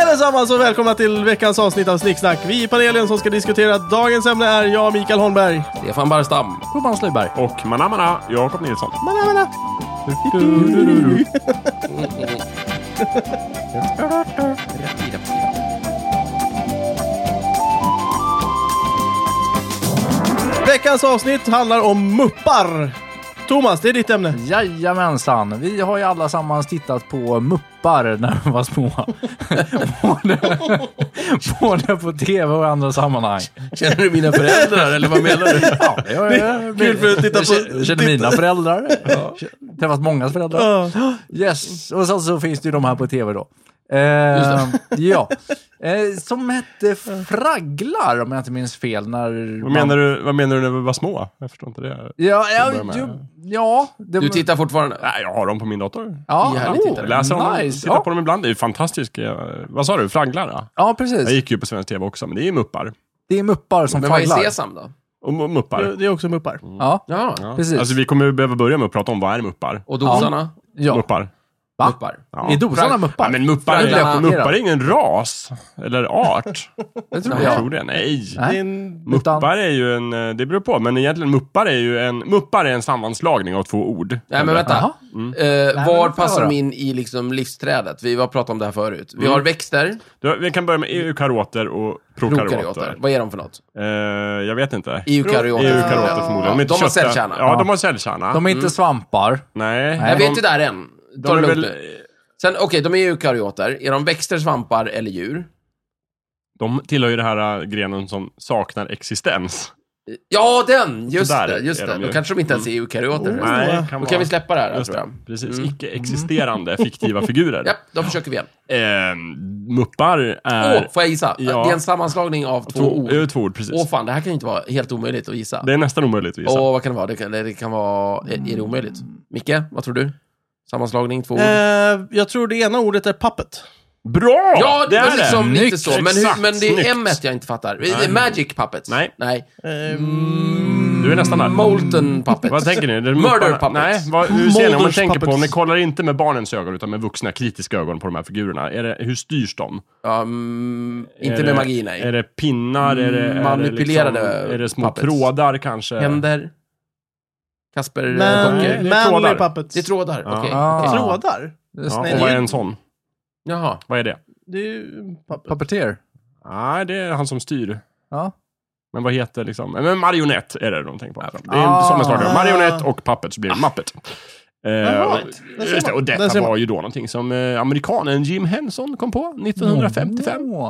allesammans och välkomna till veckans avsnitt av Snicksnack. Vi i panelen som ska diskutera dagens ämne är jag, Mikael Holmberg. Stefan Barstam. Robban Slöjberg. Och manamana, Jakob Nilsson. Manna, manna. Veckans avsnitt handlar om muppar. Thomas, det är ditt ämne. Jajamensan! Vi har ju allesammans tittat på muppar när vi var små. både, både på tv och i andra sammanhang. Känner du mina föräldrar eller vad menar du? Ja, det har jag- Kul för att titta jag på... känner- jag känner mina föräldrar. Träffat många föräldrar. Ja. Yes! Och sen så finns det ju de här på tv då. Eh, ja. Eh, som hette Fragglar om jag inte minns fel. När Vad menar, du, vad menar du när vi var små? Jag förstår inte det. Ja, ja, börjar med? ju- ja det, Du tittar fortfarande? Nej, jag har dem på min dator. ja, Jävligt oh, tittare. Jag läser om dem, nice. tittar ja. på dem ibland. Det är ju fantastiskt. eh, Vad sa du? Fragglarna? ja, precis. Jag gick ju på svensk tv också, men det är ju muppar. Det är muppar som Men vad är fragglar. Sesam då? Och mu- muppar. Det är också muppar. Ja, Ja. Ja. precis. Alltså vi kommer ju behöva börja med att prata om vad är muppar? Och dosarna? ja. Muppar. Va? Muppar. Ja. Är dosorna muppar? Ja, men muppar, Fragglarna. är, muppar är ingen ras eller art. det tror Jag jag. tror det. Nej. Nej. Det är en... Muppar är ju en, eh, det beror på, men egentligen muppar är ju en, muppar är en sammanslagning av två ord. Nej, men vänta. Jaha. Eh, får var jag passar höra. de in i liksom livsträdet? Vi har pratat om det här förut. Vi har växter, Du, vi kan börja med eukaryoter Mm. och prokaryoter. prokaryoter. Vad är de för något? Eh, jag vet inte. Eukaryoter. Eukaryoter förmodligen. Ja, inte de har köttär- cellkärna. Ja, de har cellkärna. De är inte svampar. Nej. Nej, Jag de, vet inte där än. Ta de det är lugnt väl... nu. Sen, okej, de är eukaryoter. Är de växter, svampar eller djur? De tillhör ju den här äh, grenen som saknar existens. Ja, den! Just Sådär det, just är det. de Då ju. Mm. kanske de inte ens är eukaryoter. förresten. Nej, Stora. kan Då vara. kan vi släppa det här, Just tror det. jag. Precis. Mm. Icke-existerande fiktiva figurer. Ja, då försöker vi igen. Eh, muppar Åh, är... får jag gissa? Ja. Det är en sammanslagning av två, två, ord. eh, två ord, precis. Åh fan, det här kan ju inte vara helt omöjligt att gissa. Det Mm. är nästan omöjligt att gissa. Åh, vad kan det vara? Det kan, det kan vara... eh, Är, är det omöjligt? Micke, vad tror du? Sammanslagning, två ord? Eh, jag tror det ena ordet är puppet. Bra! Ja, det är liksom det. lite så. Men, hur, Exakt, men det snyggt. är M jag inte fattar. Det är Magic Puppets? Nej. Nej. Ehm, Mm. Mm. Du är nästan där. Molten Puppets? Vad tänker ni? Det är Murder mupparna- Puppets? Nej, vad, hur ser ni? Om man Molders tänker på, puppets. ni kollar inte med barnens ögon utan med vuxna kritiska ögon på de här figurerna. Är det, hur styrs de? Ja, mm, är inte det, med magi, nej. Är det pinnar? Är det, är manipulerade det, liksom, är det små puppets. trådar kanske? Händer? Kasper eh, Man, det Docker? är manly trådar. puppets. Det är trådar, Ja. okej. Ah. okej. Trådar? Ja, Nej, och det vad är- är en sån? Jaha. Vad är det? Det är ju puppet. Puppeteer. Nej, det är han som styr. Ja. Men vad heter liksom? Men marionett är det de tänker på. Det är Ah. en sammanslagning. Marionett och puppet så blir det Muppet. Eh, Jaha, och- där ser just det, man. och Där detta ser man. var ju då någonting som eh, amerikanen Jim Henson kom på 1955. Åh.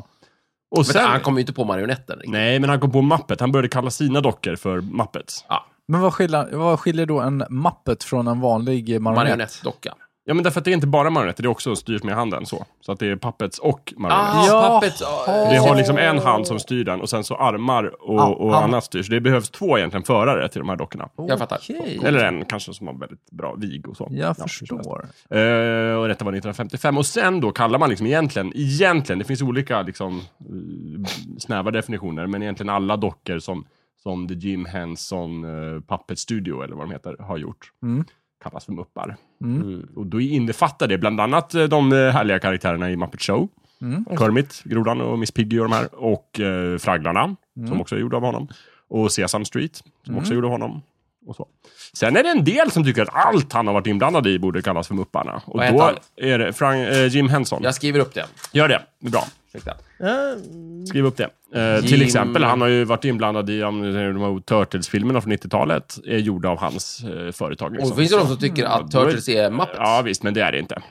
Och Vänta, Mm. han sen, kom ju inte på marionetter. riktigt. nej, men han kom på Muppet. Han började kalla sina dockor för Muppets. Men vad skiljer, vad skiljer då en mappet från en vanlig marionett? Marionettdocka. Ja, men därför att det är inte bara marionetter, det är också styrt med handen så. Så att det är Puppets och marionetter. Ah, Ja. pappet. Det Ja. har liksom en hand som styr den och sen så armar och, Ja, och ja. annat styr. Så det behövs två egentligen förare till de här dockorna. Oh. Jag fattar. Okej. Eller en kanske som har väldigt bra vig och så. Jag Ja, förstår. Eh, och detta var 1955. Och sen då kallar man liksom egentligen, egentligen, det finns olika liksom eh, snäva definitioner, men egentligen alla dockor som, som The Jim Henson eh, Puppet Studio, eller vad de heter, har gjort. Mm. Kallas för muppar. Mm. Och då innefattar det bland annat eh, de eh, härliga karaktärerna i Muppet Show. Mm. Kermit, Grodan och Miss Piggy och de här. Och eh, Fragglarna, Mm. som också är gjorda av honom. Och Sesam Street, som också är gjorda av honom. Och så. Sen är det en del som tycker att allt han har varit inblandad i borde kallas för Mupparna. Och Vad heter då han? är det Frank, eh, Jim Henson. Jag skriver upp det. Gör det, det är bra. Ursäkta. Eh, Skriv upp det. Eh, till Jim- exempel, han har ju varit inblandad i om, de här Turtles-filmerna från 90-talet. är gjorda av hans eh, företag. Och liksom. det finns ju de som tycker att Turtles är Muppets. Ja, visst, men det är det inte.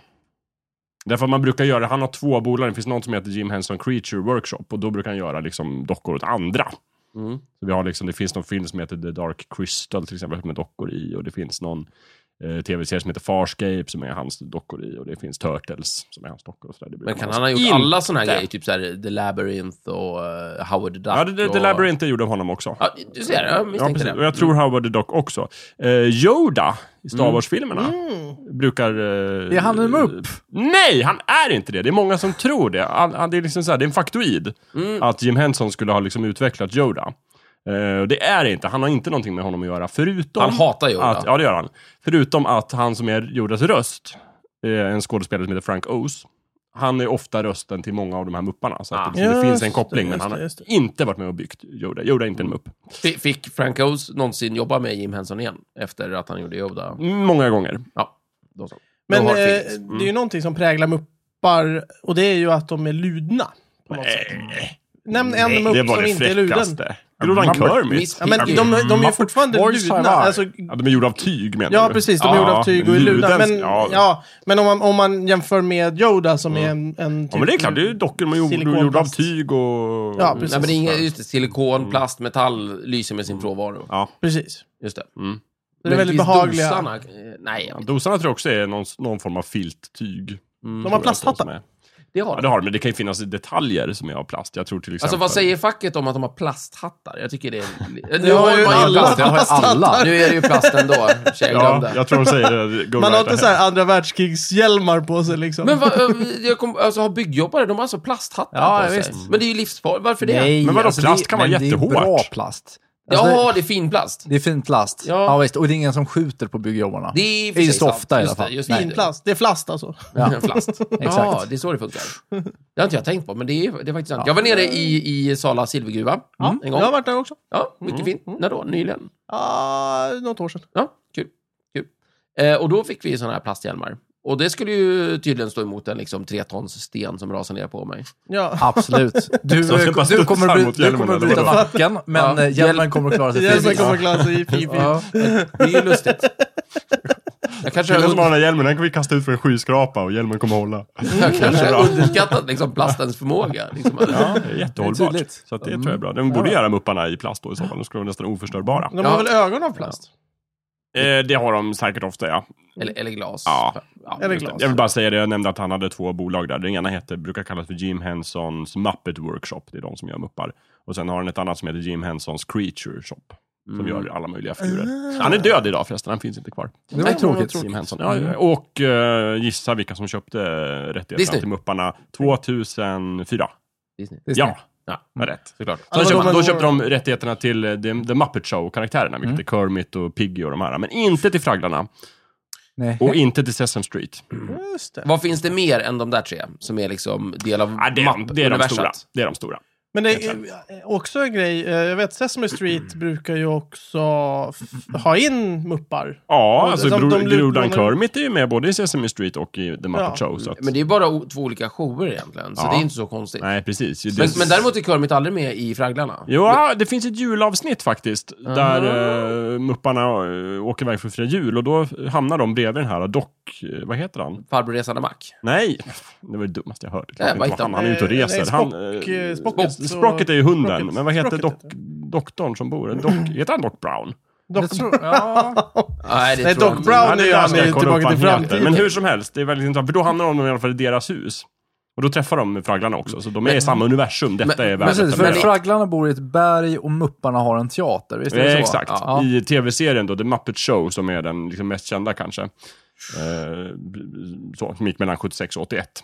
Därför att man brukar göra, han har två bolag, det finns någon som heter Jim Henson Creature Workshop och då brukar han göra liksom dockor åt andra. Mm. Så vi har liksom, det finns någon film som heter The Dark Crystal till exempel med dockor i och det finns någon eh, tv-serie som heter Farscape som är hans dockor i och det finns Turtles som är hans dockor och sådär. Det brukar Men kan man- han ha gjort In- alla såna här grejer? Typ såhär The Labyrinth och eh, Howard the Duck? Ja, det, det, och... The Labyrinth är gjord av honom också. Ja, du ser, jag misstänkte precis. det. Mm. Och jag tror Howard the Duck också. Eh, Yoda i Star Wars-filmerna Mm. brukar... Eh, Är han en mupp? Nej, han är inte det. Det är många som tror det. Han, han, det, är liksom så här, det är en faktoid Mm. att Jim Henson skulle ha liksom utvecklat Yoda. Eh, och det är det inte. Han har inte någonting med honom att göra. Förutom Han hatar Yoda. Att, ja, det gör han. Förutom att han som är Yodas röst, eh, en skådespelare som heter Frank Oz, Han är ofta rösten till många av de här mupparna. Så att Ah. det, liksom, Just det finns en det, koppling, men just han det, har just det. inte varit med och byggt Yoda. Yoda är inte en mupp. F- Fick Frank Oz någonsin jobba med Jim Henson igen? Efter att han gjorde Yoda? Många gånger. Ja, då så. Men De har eh, feelings. Mm. det är ju någonting som präglar muppar och det är ju att de är ludna. På något sätt. Nämn en mupp det var som det inte är luden. fräckaste. Grodan Muppet Kermit. Miss Ja, men de, Piggy. de är ju Muppet fortfarande Wars ludna. Survivor. Alltså, Ja, de är gjorda av tyg menar ja, du? precis. De är Ja, gjorda av tyg och är ludna. ludens- Men, ja. Mm. ja. men om, man, om man jämför med Yoda som är en... en typ, Ja, men det är klart. Det är ju dockor de är gjorda- gjorda av Silikonplast. tyg och... Ja, precis. Nej, men det är inga, just det, silikon, plast, metall lyser med sin frånvaro. Ja. Precis. Just det. Mm. Det är väldigt finns behagliga. dosarna? Eh, Nej, jag vet inte. Dosarna tror jag också är någon, någon form av filttyg. De har Som plasthattar. är- det har Ja, de. det har de, men det kan ju finnas detaljer som är av plast. Jag tror till exempel... Alltså vad säger facket om att de har plasthattar? Jag tycker det är... Nu har har ju ju man alla ju plast. Jag har ju alla. Nu är det ju plast ändå. Tjej, jag Ja, glömde. jag tror de säger det. Go Man har right inte så ahead. här andra världskrigshjälmar på sig liksom. Men vad, eh, jag kom, alltså har byggjobbare, de har alltså plasthattar Ja, på sig? visst. Men det är ju livsfarligt, varför det? Men vadå, plast det, kan vara men jättehårt. Det är bra plast. Alltså, ja, det, det är finplast. det är fin plast. Ja. Ja. visst. Och det är ingen som skjuter på byggjobbarna. Det är i och för Inte sig så sant. ofta i alla Just det, fall. just Fin plast. Det är flast alltså. Ja. Plast. Ja, Exakt. det är så det funkar. Det har inte jag tänkt på, men det är, det är faktiskt sant. Jag var nere i, i Sala silvergruva en Jag har gång. varit där också. Ja, Mm. mycket fint. När då? Nyligen? Ah, något år sedan. Ja, kul. kul. Eh, och då fick vi såna här plasthjälmar. Och det skulle ju tydligen stå emot en liksom, tre tons sten som rasade ner på mig. Ja. Absolut. Du, Så jag bara du kommer studsar att bry- mot du kommer hjälmen, att bryta eller vadå? nacken, men Ja. eh, hjälmen kommer att klara sig Jensen fint. kommer glassa i fifi. Ja, det är ju lustigt. Jag kanske Killen har, som har un- den här hjälmen, den kan vi kasta ut från en skyskrapa och hjälmen kommer hålla. jag kanske har underskattat liksom, plastens förmåga. Liksom. Ja, det är jättehållbart. tydligt. så att det tror jag är bra. De borde göra mupparna i plast då i så fall. De skulle vara nästan oförstörbara. De Ja. har väl ögon av plast? Eh, det har de säkert ofta, ja. Eller, eller glas. Ja. Eller just det. glas. Jag vill bara säga det, jag nämnde att han hade två bolag där. Den ena heter, brukar kallas för Jim Hensons Muppet Workshop. Det är de som gör muppar. Och sen har han ett annat som heter Jim Hensons Creature Shop. Som gör alla möjliga figurer. Han är död idag förresten, han finns inte kvar. Det var ju tråkigt. Jim Henson. Ja, ja. och eh, gissa vilka som köpte rättigheterna Disney. till Mupparna 2004. Disney. Visst. Ja, Ja. det är rätt. Såklart. Ja, Då, det var köpte, de- då köpte de rättigheterna till eh, The, The Muppet Show-karaktärerna, vilket är Kermit och Piggy och de här. Men inte till Fragglarna Nej. och inte till Sesame Street. Just det. Vad finns det mer än de där tre som är liksom del av Ja, det, är de, det, är de mappuniversat? stora. det är de stora. Men det är eh, också en grej. eh, Jag vet Sesame Street Mm. brukar ju också f- ha in muppar. Ja, Och alltså de- Bro- de lutar- Grodan de- Kermit är ju med både i Sesame Street och i The Muppet Ja. Show. Så att, Men det är bara o- två olika shower egentligen, så Ja. det är inte så konstigt. Nej, precis. Det- Men, men däremot är Kermit aldrig med i Fragglarna. Jo, ja, det finns ett julavsnitt faktiskt. Där eh, mupparna eh, åker iväg för fria jul och då hamnar de bredvid den här dock... eh, Vad heter han? Farbror Resande Mac. Nej! Det var det dummaste jag hört. Det är Nej, klart vad inte heter var han? Han Han är ute och Eh, nej, reser. Han, Spock, eh, eh, Sprocket Spock- och- Sprocket är ju hunden. Sprocket. Men vad heter Sprocket dock, doktorn som bor? Dock, heter han Doc Brown? Jag tror, ja. Nej, det Nej, tror Doc jag Brown inte. är ju där han ska jag i kolla upp Tillbaka till vad han heter. framtiden. Men hur som helst, det är väldigt intressant. För då hamnar de i alla fall i deras hus. Och då träffar de Fragglarna också. Så de är i samma universum. Detta men- är världen. Precis, för Men- Fragglarna bor i ett berg och Mupparna har en teater. Visst är det så? Eh, exakt. Ja. I tv-serien då, The Muppet Show, som är den liksom mest kända kanske. Eh, b- så, som gick mellan 76 och 81.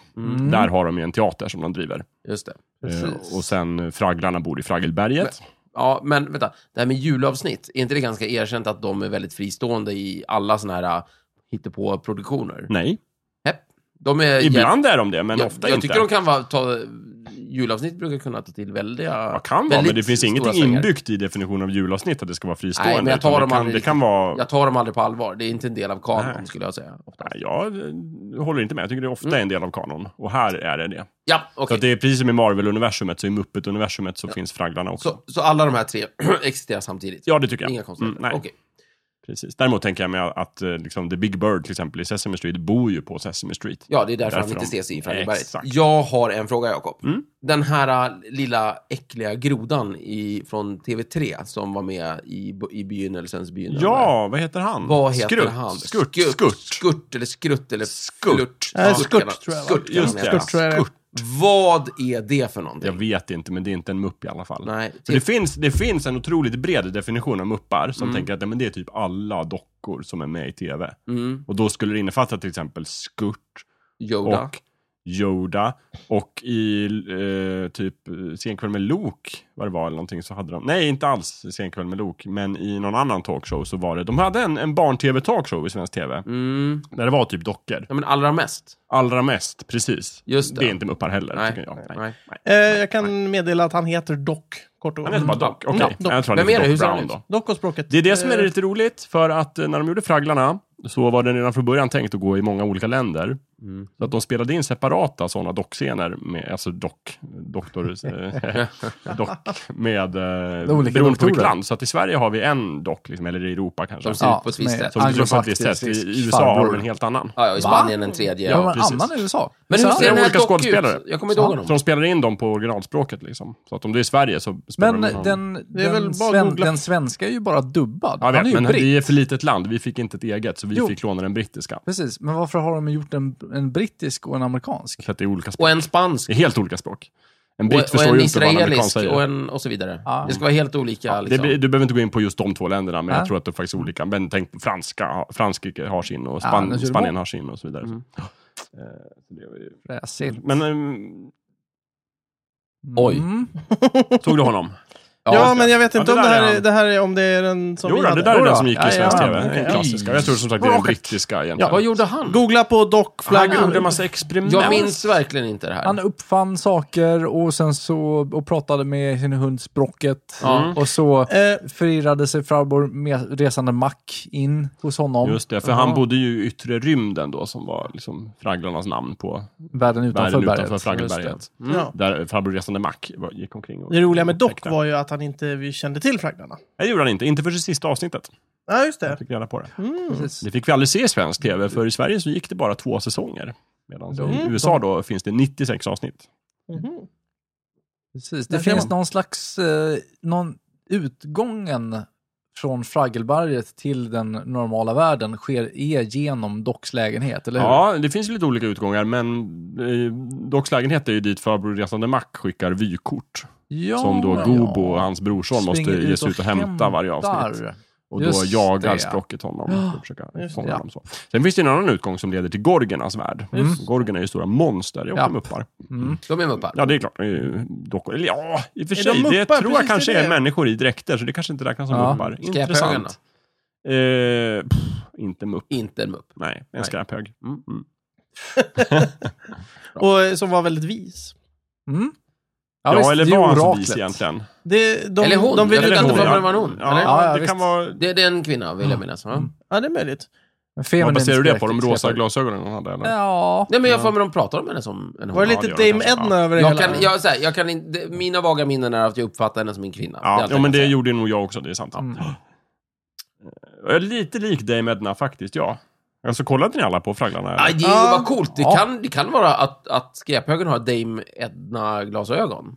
Där har de ju en teater som de driver. Just det. Eh, och sen eh, Fragglarna bor i Fraggelberget. Ja, men vänta. Det här med julavsnitt, är inte det ganska erkänt att de är väldigt fristående i alla såna här äh, hittepå-produktioner? Nej, Hepp. De är ibland är de det, men jag, ofta Eh, jag inte. tycker de kan vara, ta, julavsnitt brukar kunna ta till väldiga... Ja, kan vara, väldigt men det finns stora inget svängar. inbyggt i definitionen av julavsnitt att det ska vara fristående. Nej, men jag tar utan dem det kan, aldrig det kan vara... Jag tar dem aldrig på allvar. Det är inte en del av kanon, Nej. skulle jag säga. Ofta. Nej, jag eh, håller inte med. Jag tycker det ofta är en del av kanon. Och här är det det. Ja, Så Mm. okej. att det är precis som i Marvel-universumet, så i Muppet-universumet så finns Fragglarna också. Så, så alla de här tre existerar samtidigt? Ja, det tycker jag. Mm, Inga konstigheter? nej. Okej. Precis. Däremot tänker jag mig att eh, liksom, The Big Bird till exempel i Sesame Street bor ju på Sesame Street. Ja, det är därför, Därför han inte de- ses i Fraggelberget. Exakt. Mm. Jag har en fråga, Jakob. Den här äh, lilla äckliga grodan i, från TV3 som var med i, b- i begynnelsens begynnelse. Ja, vad heter han? Vad heter Skrutt. han? Skurt. Skurt. Skurt. Skurt eller skrutt eller Skurt. flört. Nej, Ja, skurt kan man- tror jag, va? Skurt kan Just man det. heta. Skurt tror jag det är. Skurt. Vad är det för någonting? Jag vet inte, men det är inte en mupp i alla fall. Nej. typ- För det, finns, det finns en otroligt bred definition av muppar som tänker att nej, men det är typ alla dockor som är med i tv. Mm. Och då skulle det innefatta till exempel Skurt Yoda. och Yoda och i eh, typ eh, Senkväll med Luke, vad det var eller någonting, så hade de, nej inte alls Senkväll med Luke, men i någon annan talkshow så var det, de hade en, en barn-tv-talkshow i svensk tv, Mm. där det var typ dockor. Ja, men allra mest. Allra mest, precis. Just det. är inte muppar heller, Nej. tycker jag. Nej. Nej. Eh, jag kan meddela att han heter Doc, kort och Han heter bara gott. Doc, okej. Ja, Doc. Jag tror han Vem är det? heter Hur Doc ser han Brown ut? då. Doc och språket. Det är det som är Eh, lite roligt, för att eh, när de gjorde Fragglarna så var det redan från början tänkt att gå i många olika länder. Mm. Så att de spelade in separata sådana dockscener, med, alltså dock, doktor, eh, dock, med, eh, olika beroende på vilket doktorer. land. Så att i Sverige har vi en dock, liksom, eller i Europa kanske. De Som, ser ut typ på ett visst med sätt. som det på ett visst sätt. anglofaktisk I USA har de farbror. en helt annan. Ja, ja, i Va? Spanien en tredje. Ja, men precis. annan i USA. Men hur Så- ser den här olika dock skådespelare. ut? Jag kommer inte ihåg honom. Så de spelar in dem på originalspråket. Liksom. Så att om det är i Sverige så spelar Men de in den, dem. den, Det är väl bara att sven, googla. den svenska är ju bara dubbad. Ja, jag Han är vet, ju men britt. vi är för litet land, vi fick inte ett eget, så vi Jo. fick låna den brittiska. Precis, men varför har de gjort en, en brittisk och en amerikansk? För att det är olika språk. Och en spansk. Det är helt olika språk. En Och, britt och förstår en ju inte vad en amerikan israelisk säger. och, en, och så vidare. Ah. Det ska vara helt olika. det, liksom. blir- du behöver inte gå in på just de två länderna, men jag Nej. tror att det är faktiskt olika. Men tänk på franska, Frankrike har sin och Ja, Span, men så är det Spanien bra. har sin och så vidare. Mm. Eh, så det var ju- Fräsigt. Men ehm, Oj. Mm. tog du honom? Ja, men jag vet Ja, inte det om det där här, är är, han. det här är om det är den som Jo, vi då, det hade. där är Jo den då. som gick i Ja, svensk ja, tv. okej. Den klassiska. Jag tror som sagt det är den brittiska egentligen. Vad gjorde han? Googla på Doc han Flagg. gjorde en Ah, massa experiment. Jag minns verkligen inte det här. Han uppfann saker och sen så och pratade med sin hund Sprocket. Ja. Mm. Och så Eh, förirrade sig Farbror med resande Mack in hos honom. Just det, för Ja. han bodde ju i yttre rymden då, som var liksom fragglarnas namn på Världen utanför bergen berget. utanför Fraggelberget. ja. Där farbror Resande Mac var- gick omkring. Och Det roliga med Doc upptäckte. var ju att han inte vi kände till flaggdarna. Nej, det gjorde han inte. Inte för det sista avsnittet. Ja, Mm. just Jag det. fick reda på det. Precis. Mm. Det fick vi aldrig se i svensk tv, för i Sverige så gick det bara två säsonger. Medan i Mm. USA då finns det 96 avsnitt. Mhm. Precis. Det Där ser finns någon slags eh, någon utgången från Fraggelberget till den normala världen sker är genom Docks lägenhet, eller hur? Ja, det finns ju lite olika utgångar, men eh, Docks lägenhet är ju dit farbror Resande Mac skickar vykort. Ja, som då ja. Gobo och hans brorson måste Springer ge sig ut och hämta varje hämtar. avsnitt. Och då Just jagar det. Sprocket honom. Ja, för att försöka just fånga det. honom så. Sen finns det en annan utgång som leder till Gorgernas värld. Mm. Gorgerna är ju stora monster, det är också Ja. muppar. Mm. De är muppar. Ja, det är klart. Det är ju dockor. Eller ja, i och för Är sig. de det muppar? tror jag Precis, kanske det är är det. människor i dräkter, så det kanske inte räknas som Ja. muppar. Skräphögarna. Intressant. Eh, pff, inte mupp. Inte en mupp. Nej, en Nej. skräphög. Mm. Mm. Och eh, som var väldigt vis. Mm. Ja, visst, det eller är var han så oraklet. vis egentligen? Det, de, Eller hon. De ville Jag ju tycker Eller inte inte hon, hon, var ja. det var en hon. Ja, eller? Ja, ja, det visst. kan vara... Det, det är en kvinna, vill jag minnas. Va? Mm. Ja, det är möjligt. Feminin Vad baserar du det på? skräck- De rosa skräp. glasögonen hon hade? Eller? Ja. Nej, men jag får med de pratar om henne som en hon. Var det Ja, lite det gör det Dame kanske, Edna över det jag hela? kan, jag, så här, jag kan in, det, mina vaga minnen är att jag uppfattar henne som en kvinna. är Ja, allt ja jag men kan det säga. gjorde nog jag också, det är sant. Mm. Jag är lite lik dig med Edna faktiskt, ja. Alltså kollade ni alla på Fragglarna? eller? Ah, det är ju Ja. vad coolt. Det, Ja. kan, det kan vara att, att skräphögen har Dame Edna-glasögon.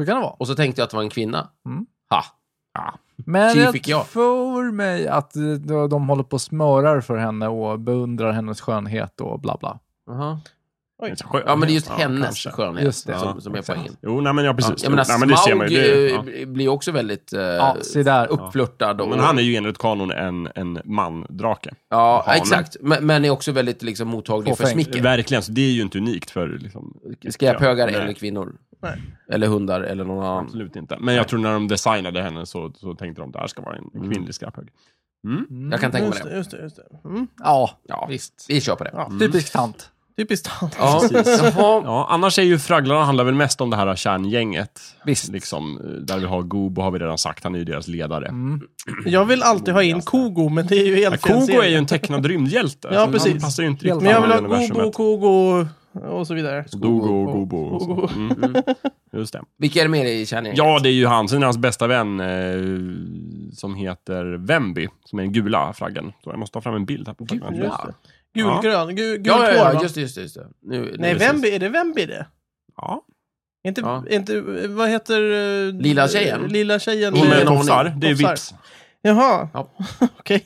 Så kan det vara. Och så tänkte jag att det var en kvinna. Mm. Ha. Men Tji jag fick jag. tror mig att eh, de de håller på och smörar för henne och beundrar hennes skönhet och bla bla. Aha. Det är så skönt. Ja, men det är just Ja, hennes kanske. skönhet Just det. som, Ja, som är exakt. poängen. Jo, nej men ja, Ja, precis. jag menar, nej, men det ser man ju. Smaug Det, eh, ja. blir- blir också väldigt eh, Ja, se där. uppflörtad. Och, Men han är ju enligt kanon en, en man-drake. ja, hanen. exakt. Men, men är också väldigt liksom, mottaglig för Fåfäng. smicker. Verkligen, så det är ju inte unikt för liksom, Skräphögar Nej. eller kvinnor. Nej. Eller hundar eller någon annan. Absolut inte. Men jag tror när de designade henne så, så tänkte de att det här ska vara en en kvinnlig skräphög. Mm. Jag kan tänka mig Just det. det, just det. Just det. Mm. Ja, Ja, Visst. vi kör på det. Ja. typiskt tant. Typiskt han. Ja, Jaha. Ja, annars är ju Fragglarna handlar väl mest om det här kärngänget. Visst. Liksom, eh, där vi har Gobo har vi redan sagt, han är ju deras ledare. Jag vill alltid ha in Kogo, men det är ju Ja, helt fel Kogo är serie. ju en tecknad rymdhjälte. Ja, så Han precis. passar ju inte riktigt Men jag vill in i ha universumet. Gobo, Kogo och så vidare. Dogo och Gobo. och så. Gobo. Mm. Just det. Vilka är det mer i kärningen? Ja, det är ju han. Sen är hans bästa vän eh, som heter Vemby, som är den gula fraggen. Så jag måste ta fram en bild här på fraggen. Just Ja. det. Gulgrön. Gul, gul ja, tår, ja, va? ja just det, just det. Just det. Nu, Nej, nu, Vemby, är det Vemby det? ja. Inte, Ja. inte, vad heter... eh, Lilla tjejen. Lilla tjejen. Hon Nej, med med- någon- tofsar. Det är tofsar. Vips, Jaha, Ja, okej.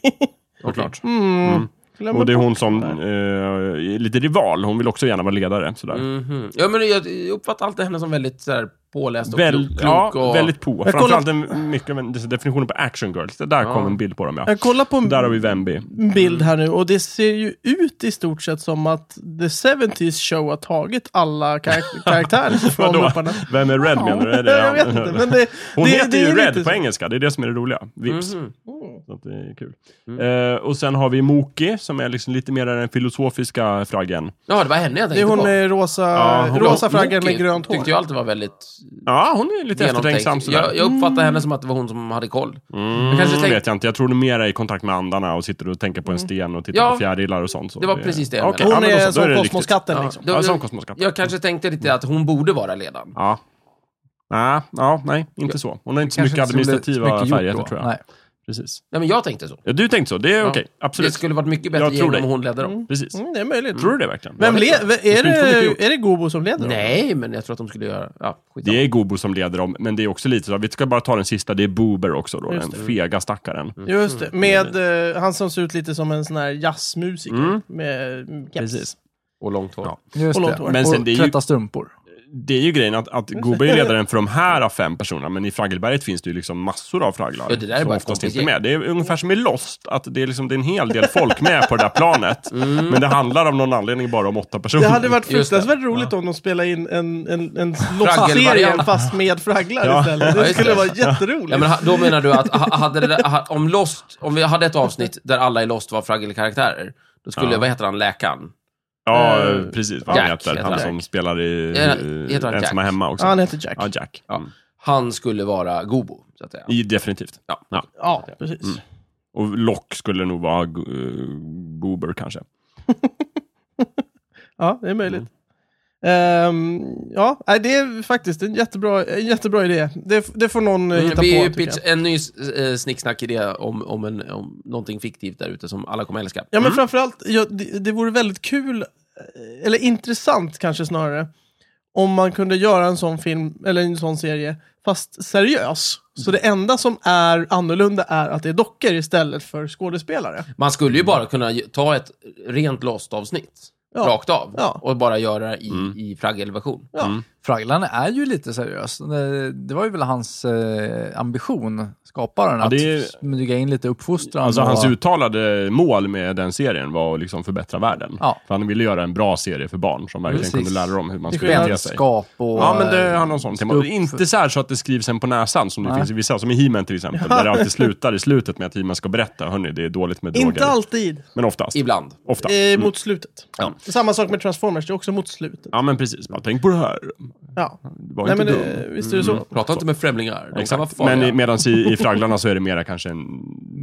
såklart. Mm. Mm. Glömmer Och det är bort hon som där. eh, är lite rival. Hon vill också gärna vara ledare. Sådär. Mm. Mhm. Ja, men jag uppfattar alltid henne som väldigt så här, påläst och Väl, klok. ja, och... väldigt på. Jag Framförallt en, mycket av en- dessa definitionen på action girls. Det där Ja. kom en bild på dem ja. Jag kollar på en Där har vi Vemby. bild Mm. här nu och det ser ju ut i stort sett som att The 70s Show har tagit alla kar- karaktärer från Vadå? mupparna. Vem är Red menar du? Är det- Jag vet inte, men det, Hon det, heter det ju är Red lite på så. Oh. engelska, det är det som är det roliga. Vips. Mhm. Så att det är kul. Mm. Eh, och sen har vi Moki som är liksom lite mer den filosofiska fraggen. Ja, det var henne jag Det är tänkte hon på. med rosa, Ja, hon- rosa Hon- flaggan med Loki grönt hår. Tyckte jag alltid var väldigt Ja, hon är lite eftertänksam genomtänkt. sådär. Jag, jag uppfattade henne som att det var hon som hade koll. Mm, Jag kanske tänkte- vet jag inte. Jag tror du mer är i kontakt med andarna och sitter och tänker på en sten och tittar Ja, på fjärilar och sånt. Så det var precis det jag Okej, menade. Hon ja, men då så, är som då det riktigt. kosmoskatten Ja, liksom. då- Ja, som då- kosmoskatt. jag kanske tänkte lite att hon borde vara ledaren. Ja. Nej, ja, nej, inte så. Hon har inte så Kanske mycket inte så administrativa mycket gjort färger då. tror jag. Nej. Precis. Nej, men jag tänkte så. Ja, du tänkte så, det är Ja. okej. Det Absolut. skulle varit mycket Jag bättre tror gäng om dig. hon ledde dem. Precis. Mm, det är möjligt. Tror du det verkligen? Vem Ja, det tror led, jag. v- Det är, skulle inte vara mycket gjort. det, är det Gobo som leder? dem? Nej, men jag tror att de skulle göra... Ja, skit Det är Gobo som leder dem, men det är också lite så. Vi ska bara ta den sista, det är Boober också då. Den fega stackaren. Just Mm. det, med eh, han som ser ut lite som en sån här jazzmusiker. Med mm, keps. Precis. Och långt hår. Ja. Just Och det. långt hår. Men sen och det är ju- tvätta strumpor. Det är ju grejen att, att Gobo är ledaren för de här fem personerna, men i Fraggelberget finns det ju liksom massor av fragglar. Ja, det där är som bara oftast kompisgäng. inte är med. Det är ungefär som i Lost, att det är, liksom, det är en hel del folk med på det där planet. Mm. Men det handlar av någon anledning bara om åtta personer. Det hade varit Just det. fruktansvärt roligt om de spelade in en, en, en Fraggelvariant. loppserie fast med fragglar Ja. istället. Ja, Det just skulle det. vara jätteroligt. Ja, men ha- då menar du att ha- hade det, där- ha- om Lost, om vi hade ett avsnitt där alla i Lost var fraggelkaraktärer, då skulle, Ja. vad heter han, läkaren? Ja, Eh, precis. Vad han Jack heter. heter Han han. som spelar i Ja, heter han eh, Ensamma Jack? Hemma Ja, också. han heter Jack. Ja, Jack. Ja. Mm. Han skulle vara Gobo, så att säga. I, definitivt. Ja. Ja. Ja, precis. Mm. Och Lock skulle nog vara uh, Goober kanske. Ja, det är möjligt. Mm. Ehm, ja, nej, det är faktiskt en jättebra, en jättebra idé. Det, det får någon eh, Mm, hitta vi på. är ju tycker jag. pitch, en ny eh, snicksnack-idé om, om, en, om någonting fiktivt där ute som alla kommer älska. Ja, men framförallt, ja, det, det vore väldigt kul, eh, eller intressant kanske snarare, om man kunde göra en sån film, eller en sån serie, fast seriös. Så Mm. det enda som är annorlunda är att det är dockor istället för skådespelare. Man skulle ju bara kunna ju- ta ett rent Lost-avsnitt, Ja. rakt av, Ja. och bara göra i, Mm. i fraggelversion. Ja. Fragglan är ju lite seriös. Det, det var ju väl hans eh, ambition, skaparen, Ja, det är- att smyga in lite uppfostran. Alltså och- hans uttalade mål med den serien var att liksom förbättra världen. Ja. För han ville göra en bra serie för barn som verkligen Precis. kunde lära dem hur man Det ska sker bete sig. Vänskap och... eh, Ja, men det har någon sån tema. Stå upp Inte så här så att det skrivs en på näsan som det Nej. finns i vissa, som i He-Man till exempel, där det alltid slutar i slutet med att He-Man ska berätta, hörni, det är dåligt med droger. Inte alltid. Men oftast. Ibland. Ofta. Mm. Eh, mot slutet. Ja. Samma sak med Transformers, det är också mot slutet. Ja, men precis. Bara, tänk på det här. Ja. Var Nej, inte men, dum. eh, visst är det så. Prata inte med främlingar, eh, de kan vara Exakt. farliga. Men medan i, i Fragglarna så är det mera kanske en,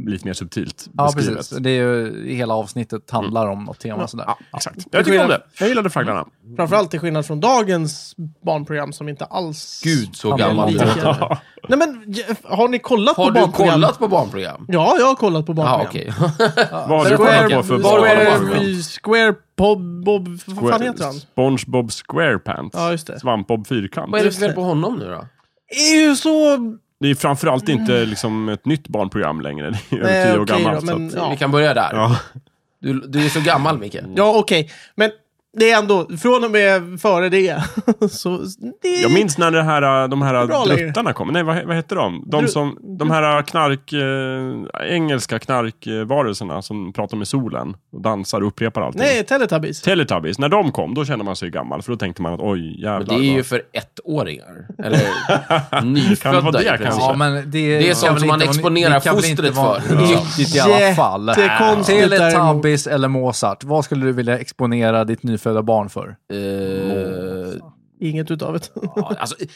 lite mer subtilt Ja, beskrivet. precis. Det är ju, hela avsnittet handlar om något Mm. tema sådär. Ja, exakt. Jag tycker om det. Jag gillade Fragglarna. Framförallt till skillnad från dagens barnprogram som inte alls... Gud, så Ja, men gammal. är lite. lika. Nej men, j- har ni kollat Har på du barnprogram? kollat på barnprogram? Ja, jag har kollat på Ja, barnprogram. okej. Vad har du kollat på för barn? Square, Square Bob, Bob, vad fan heter han? SpongeBob SquarePants. Ja, just det. Svampbob Fyrkant. Vad är det Just för fel det. på honom nu då? är ju så... Det är framförallt inte Mm. liksom ett nytt barnprogram längre. Det är över Nej, tio år okej då, gammalt. men- så att, Ja. Vi kan börja där. ja. Du, du är så gammal, Micke. Ja, okej. Men det är ändå, från och med före det, så... Det, Jag minns när det här, äh, de Bra här längre. druttarna kom. Nej, vad, vad hette de? De, Dru- som, de här äh, knark, eh, engelska knarkvarelserna som pratar med solen och dansar och upprepar allting. Nej, Teletubbies. Teletubbies, när de kom, då kände man sig gammal. För då tänkte man att oj, jävlar. Men det är ju vad- för ettåringar. Eller nyfödda vara det, i princip. kanske? Ja, men det, Det är kan sånt väl som man inte vara- exponerar det kan väl inte fostret vara för. liksom. Nyttigt i alla fall. Jättekonstigt däremot. Teletubbies eller Mozart, vad skulle du vilja exponera ditt nyfödda barn för? Eh, Inget utav det. ja, alltså, eh,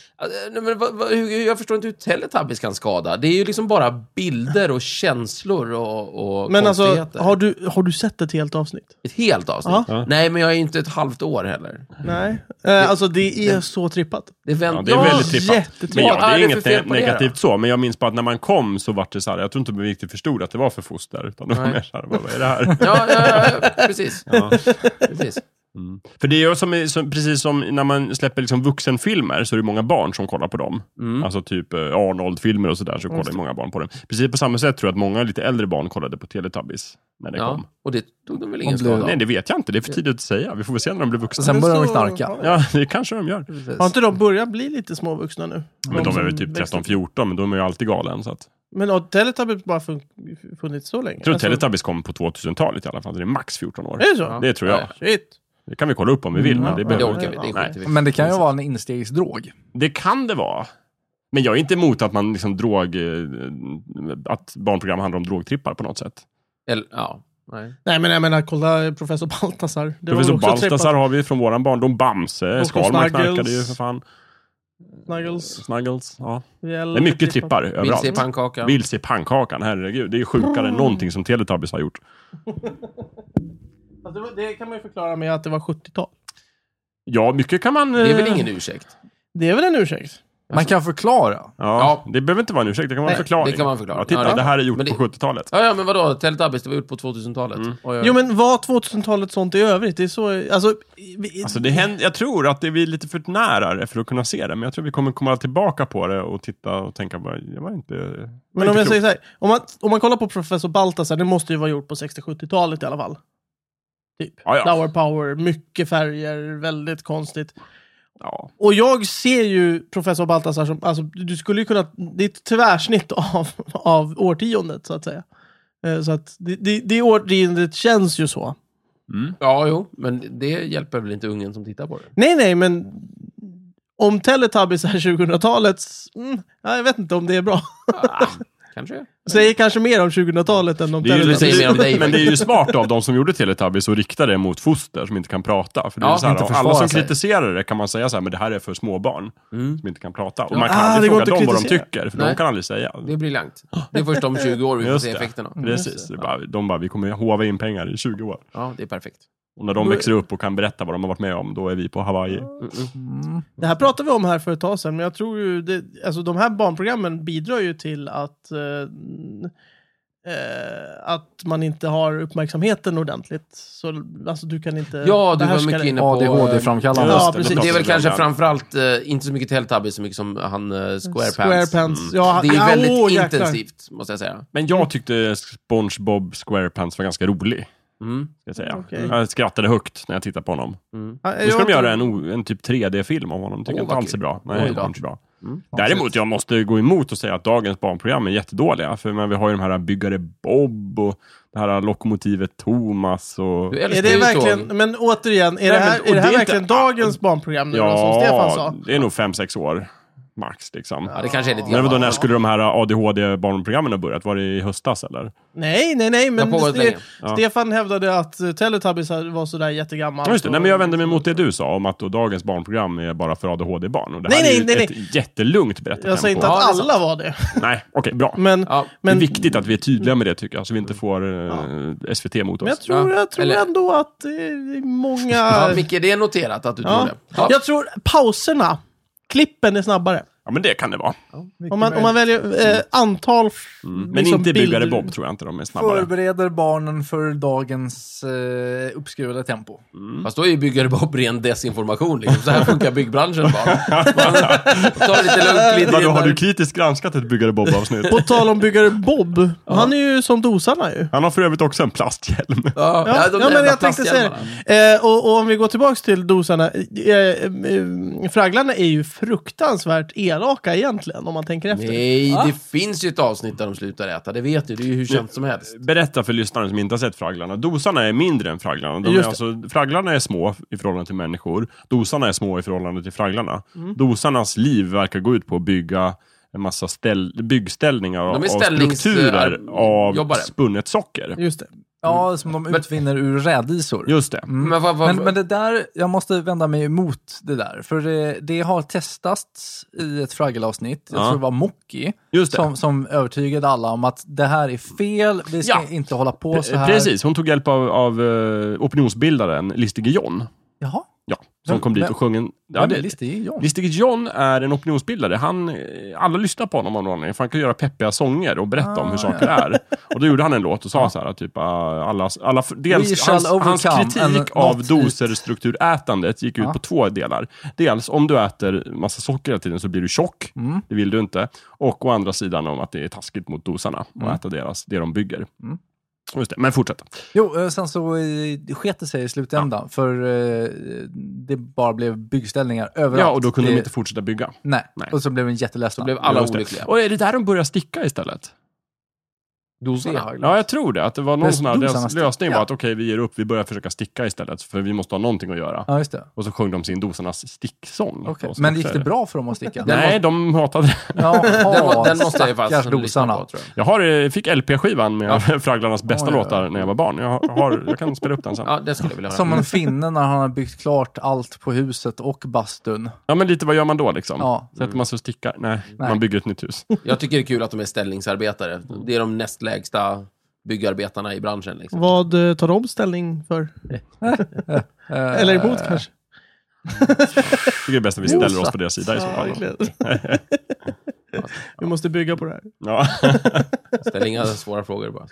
nej, men, vad- vad- hur- hur- jag förstår inte hur Teletubbies kan skada. Det är ju liksom bara bilder och känslor och, och Men alltså, konstigheter. har du, har du sett ett helt avsnitt? Ett helt avsnitt? Ja. Nej, men jag är inte ett halvt år heller. Nej. Eh, alltså, det är så trippat. Det är, vänt- Ja, det är väldigt trippat. jättetrippat. Men Vad ja, det är det är för inget fel på det negativt så, men jag minns bara att när man kom så var det så här, jag tror inte vi riktigt förstod att det var för foster, utan det var Nej. mer så här, vad vad är det här? Ja, ja, ja, ja, precis. Ja. precis. För det är ju som, som, precis som när man släpper liksom vuxenfilmer så är det många barn som kollar på dem. Alltså typ eh, Arnold-filmer och sådär så kollar ju många barn på dem. Precis på samma sätt tror jag att många lite äldre barn kollade på Teletubbies när det Ja, kom. och det tog de väl ingen Och blev- skada av? Nej, det vet jag inte. Det är för tidigt att säga. Vi får väl se när de blir vuxna. Sen Det börjar de står- knarka. Ja, det kanske de gör. Precis. Har inte de börjat bli lite småvuxna nu? Men de är som väl typ växte- 13-14, men de är ju alltid galen. Så att. Men har Teletubbies bara fun- funnits så länge? Jag tror Alltså, Teletubbies kom på 2000-talet i alla fall. så Det är max 14 år. Är det så? Det tror jag. Ja, Shit. Det kan vi kolla upp om vi vill. Mm, men ja. det, Men Men det behöver orkar vi, det Nej. skiter vi i. Men det kan ju vara en instegsdrog. Det kan det vara. Men jag är inte emot att man liksom drog... eh, Att barnprogram handlar om drogtrippar på något sätt. Eller, ja. Nej. Nej men jag menar, kolla eh, Professor Baltasar. Det var Professor väl också Baltasar trippat. har vi från våran barndom. Bamse, Och Skalman Snuggles. knarkade ju för fan. Snuggles. Snuggles, ja. Jävlar, Det är mycket trippat. trippar Mm, Vilse i Mm. överallt. pannkaka. Vilse i pannkakan, herregud. Det är ju sjukare än någonting som Teletubbies har gjort. Fast Alltså, det var- Det kan man ju förklara med att det var 70-tal. Ja, mycket kan man... Det är eh, väl ingen ursäkt? Alltså. Det är väl en ursäkt? Man kan förklara. Ja, det behöver inte vara en ursäkt, det kan vara en Nej, förklaring. det kan vara en förklaring. Ja, titta, Ja, det- det här är gjort men det- på 70-talet. Ja, ja, men vadå? Teletubbies, det var gjort på 2000-talet. Oj, oj. Jo men var 2000-talet sånt i övrigt? Det är så... Alltså... vi- Alltså det händer, jag tror att det är vi är lite för nära det för att kunna se det, men jag tror vi kommer komma tillbaka på det och titta och tänka bara, jag var inte... Men om jag säger så här, om man, om man kollar på Professor Baltasar, det måste ju vara gjort på 60-70-talet i alla fall. Typ. Ja, ja. Flower power, mycket färger, väldigt konstigt. Ja. Och jag ser ju Professor Baltasar som, alltså du skulle ju kunna, det är ett tvärsnitt av, av årtiondet så att säga. Eh, Så att det, det, det årtiondet känns ju så. Ja, jo, men det hjälper väl inte ungen som tittar på det? Nej, nej, men om Teletubbies är 2000-talets, mm, ja, jag vet inte om det är bra. Ah, kanske. Säger kanske mer om 2000-talet än om Det är Du ju, Teletubbies. säger mer om dig, men det Mike. är ju smart av de som gjorde Teletubbies att rikta det mot foster som inte kan prata. För det är Ja, ju så här, inte och alla som försvara sig. kritiserar det kan man säga så här, men det här är för småbarn som inte kan prata. Och man kan Ah, det aldrig går fråga inte att dem vad de kritisera. tycker, för de Nej. kan aldrig säga. Det är briljant. Det är först om 20 år vi får Just se det. Mm. effekterna. Precis, det är bara, de bara, vi kommer hova in pengar i 20 år. Ja, det är perfekt. Och när de växer upp och kan berätta vad de har varit med om, då är vi på Hawaii. Det här pratade vi om här för ett tag sedan, men jag tror ju det, alltså de här barnprogrammen bidrar ju till att eh, eh, att man inte har uppmärksamheten ordentligt. Så alltså, du kan inte Ja, du var behärska mycket det. inne på... ADHD-framkallande. Ja, Just precis. pratar Det är väl vi kanske om. framförallt, eh, inte så mycket Teletubbies så mycket som han eh, Squarepants. Squarepants. Ja, Det är ju ja, väldigt åh, jäklar. intensivt, måste jag säga. Men jag tyckte SpongeBob SquarePants var ganska rolig. Mm. Ska jag, säga. Okej. Jag skrattade högt när jag tittade på honom. Ja, Nu ska jag- de göra en, o- en typ 3D-film om honom. Tycker Åh, jag inte vad Mm. alls är kul. bra. Oj Nej, då. det var inte bra. Däremot, jag måste gå emot och säga att dagens barnprogram är jättedåliga. För men, vi har ju de här Byggare Bob och det här lokomotivet Thomas. Och... Du Är älskar det ju verkligen, tåg. men återigen, är men- det här, och är det här det är verkligen inte- dagens barnprogram nu då, som Stefan Ja, sa? det är nog 5-6 år max. Liksom. Ja, det kanske är lite Men vadå, gammalt. när skulle de här ADHD-barnprogrammen ha börjat? Var det i höstas eller? Nej, nej, nej, men har pågått länge. Ja. Stefan hävdade att eh, Teletubbies var sådär jättegammalt. Ja, just det. Nej, och- men jag vänder mig mot det du sa om att då dagens barnprogram är bara för ADHD-barn. Och det Nej, här är ju nej, nej, ett jättelugnt berättartempo. Jag säger inte Ja, det är att sant. alla var det, Nej, okej, bra. men, Ja. det är men Mm. viktigt att vi är tydliga med det tycker jag, så vi inte får eh, SVT mot oss. Men jag tror, Ja, jag tror eller- ändå att eh, det är många... Ja, Micke, det är noterat att du Ja. tror det. Ja. Jag tror pauserna, klippen är snabbare. Ja, men det kan det vara. Om man, om man väljer Mm. eh, antal... f- Men liksom inte Byggare bilder. Bob tror jag inte de är snabbare. Förbereder barnen för dagens eh, uppskruvade tempo. Mm. Fast då är ju byggare Bob ren desinformation. Liksom. Så här funkar byggbranschen bara. Man tar det lite lugnt, glider Vadå, in har du där. kritiskt granskat ett Byggare Bob-avsnitt? På tal om byggare Bob, han är ju som dosanna ju. Han har för övrigt också en plasthjälm. Ja, Ja, de ja jävla men jag tänkte säga plasthjälmarna. det. Eh, och, och om vi går tillbaks till dosorna. Eh, eh, eh, fragglarna är ju fruktansvärt elaka egentligen, om man tänker efter. Nej, det finns ju ett avsnitt där de slutar äta. Det vet du. Det är ju hur känt som helst. Berätta för lyssnaren som inte har sett fragglarna. Dosarna är mindre än fragglarna. De är Just det. alltså, fragglarna är små i förhållande till människor. Dosarna är små i förhållande till fragglarna. Dosarnas liv verkar gå ut på att bygga en massa ställ, byggställningar De av är strukturer ställnings- av jobbare. spunnet socker. Just det. Mm. Ja, som de utvinner ur rädisor. Just det. Men, vad, vad, Men, men det där, jag måste vända mig emot det där. För det, det har testats i ett fraggelavsnitt, jag Ja. tror det var Mocky, Just det. som, som övertygade alla om att det här är fel, vi ska Ja. inte hålla på så här. Precis, hon tog hjälp av, av eh, opinionsbildaren Listige John. Jaha. Ja, som kom dit men- och sjöng en... Ja, Ja, det det, visste ju jag. Listig John är en opinionsbildare. Han, eh, alla lyssnar på honom av någon anledning, för han kan göra peppiga sånger och berätta om hur saker är. Och då gjorde han en låt och sa så här, typ, ah, alla, alla, dels shall hans, hans overcome kritik and av not doserstrukturätandet gick ut Ja. på två delar. Dels om du äter massa socker hela tiden så blir du tjock, Mm. det vill du inte. Och å andra sidan om att det är taskigt mot dosarna att äta deras, det de bygger. Just det, men fortsätt. Jo, eh, sen så eh, det sket det sig i slutändan. För eh, det bara blev byggställningar överallt. Ja, och då kunde det, de inte fortsätta bygga. Nej. Nej. och så blev den jätteledsna. Då blev alla Just det. olyckliga. Och är det där de börjar sticka istället? Det har Dosorna. jag glömt. Ja, jag tror det. Att det var någon Lös- sån här, dosan deras stick. lösning var Ja. att okej, vi ger upp, vi börjar försöka sticka istället, för vi måste ha någonting att göra. Ja, just det. Och så sjöng de sin dosornas sticksång. Okej. Och så Men gick också- det bra för dem att sticka? Den Nej, måste- de hatade det. Jaha, Den, må- den måste jag ju faktiskt stackars lyssna dosarna. på, tror jag. Jag har, eh, fick LP-skivan med Fragglarnas bästa Oj, oj, oj. låtar när jag var barn. Jag, har, jag kan spela upp den sen. Ja, det skulle jag vilja höra. Mm. Som en finne när han har byggt klart allt på huset och bastun. Ja, men lite vad gör man då liksom? Ja. Sätter man sig och stickar? Nej, Nej. man bygger ett nytt hus. Jag tycker det är kul att de är ställningsarbetare. Det är de näst lägsta byggarbetarna i branschen. Liksom. Vad eh, tar de ställning för? eh, Eller emot kanske? Tycker det är bäst att vi ställer oss på deras sida i så Ja, fall. verkligen. Vi måste bygga på det här. Ja. Ställ inga svåra frågor bara.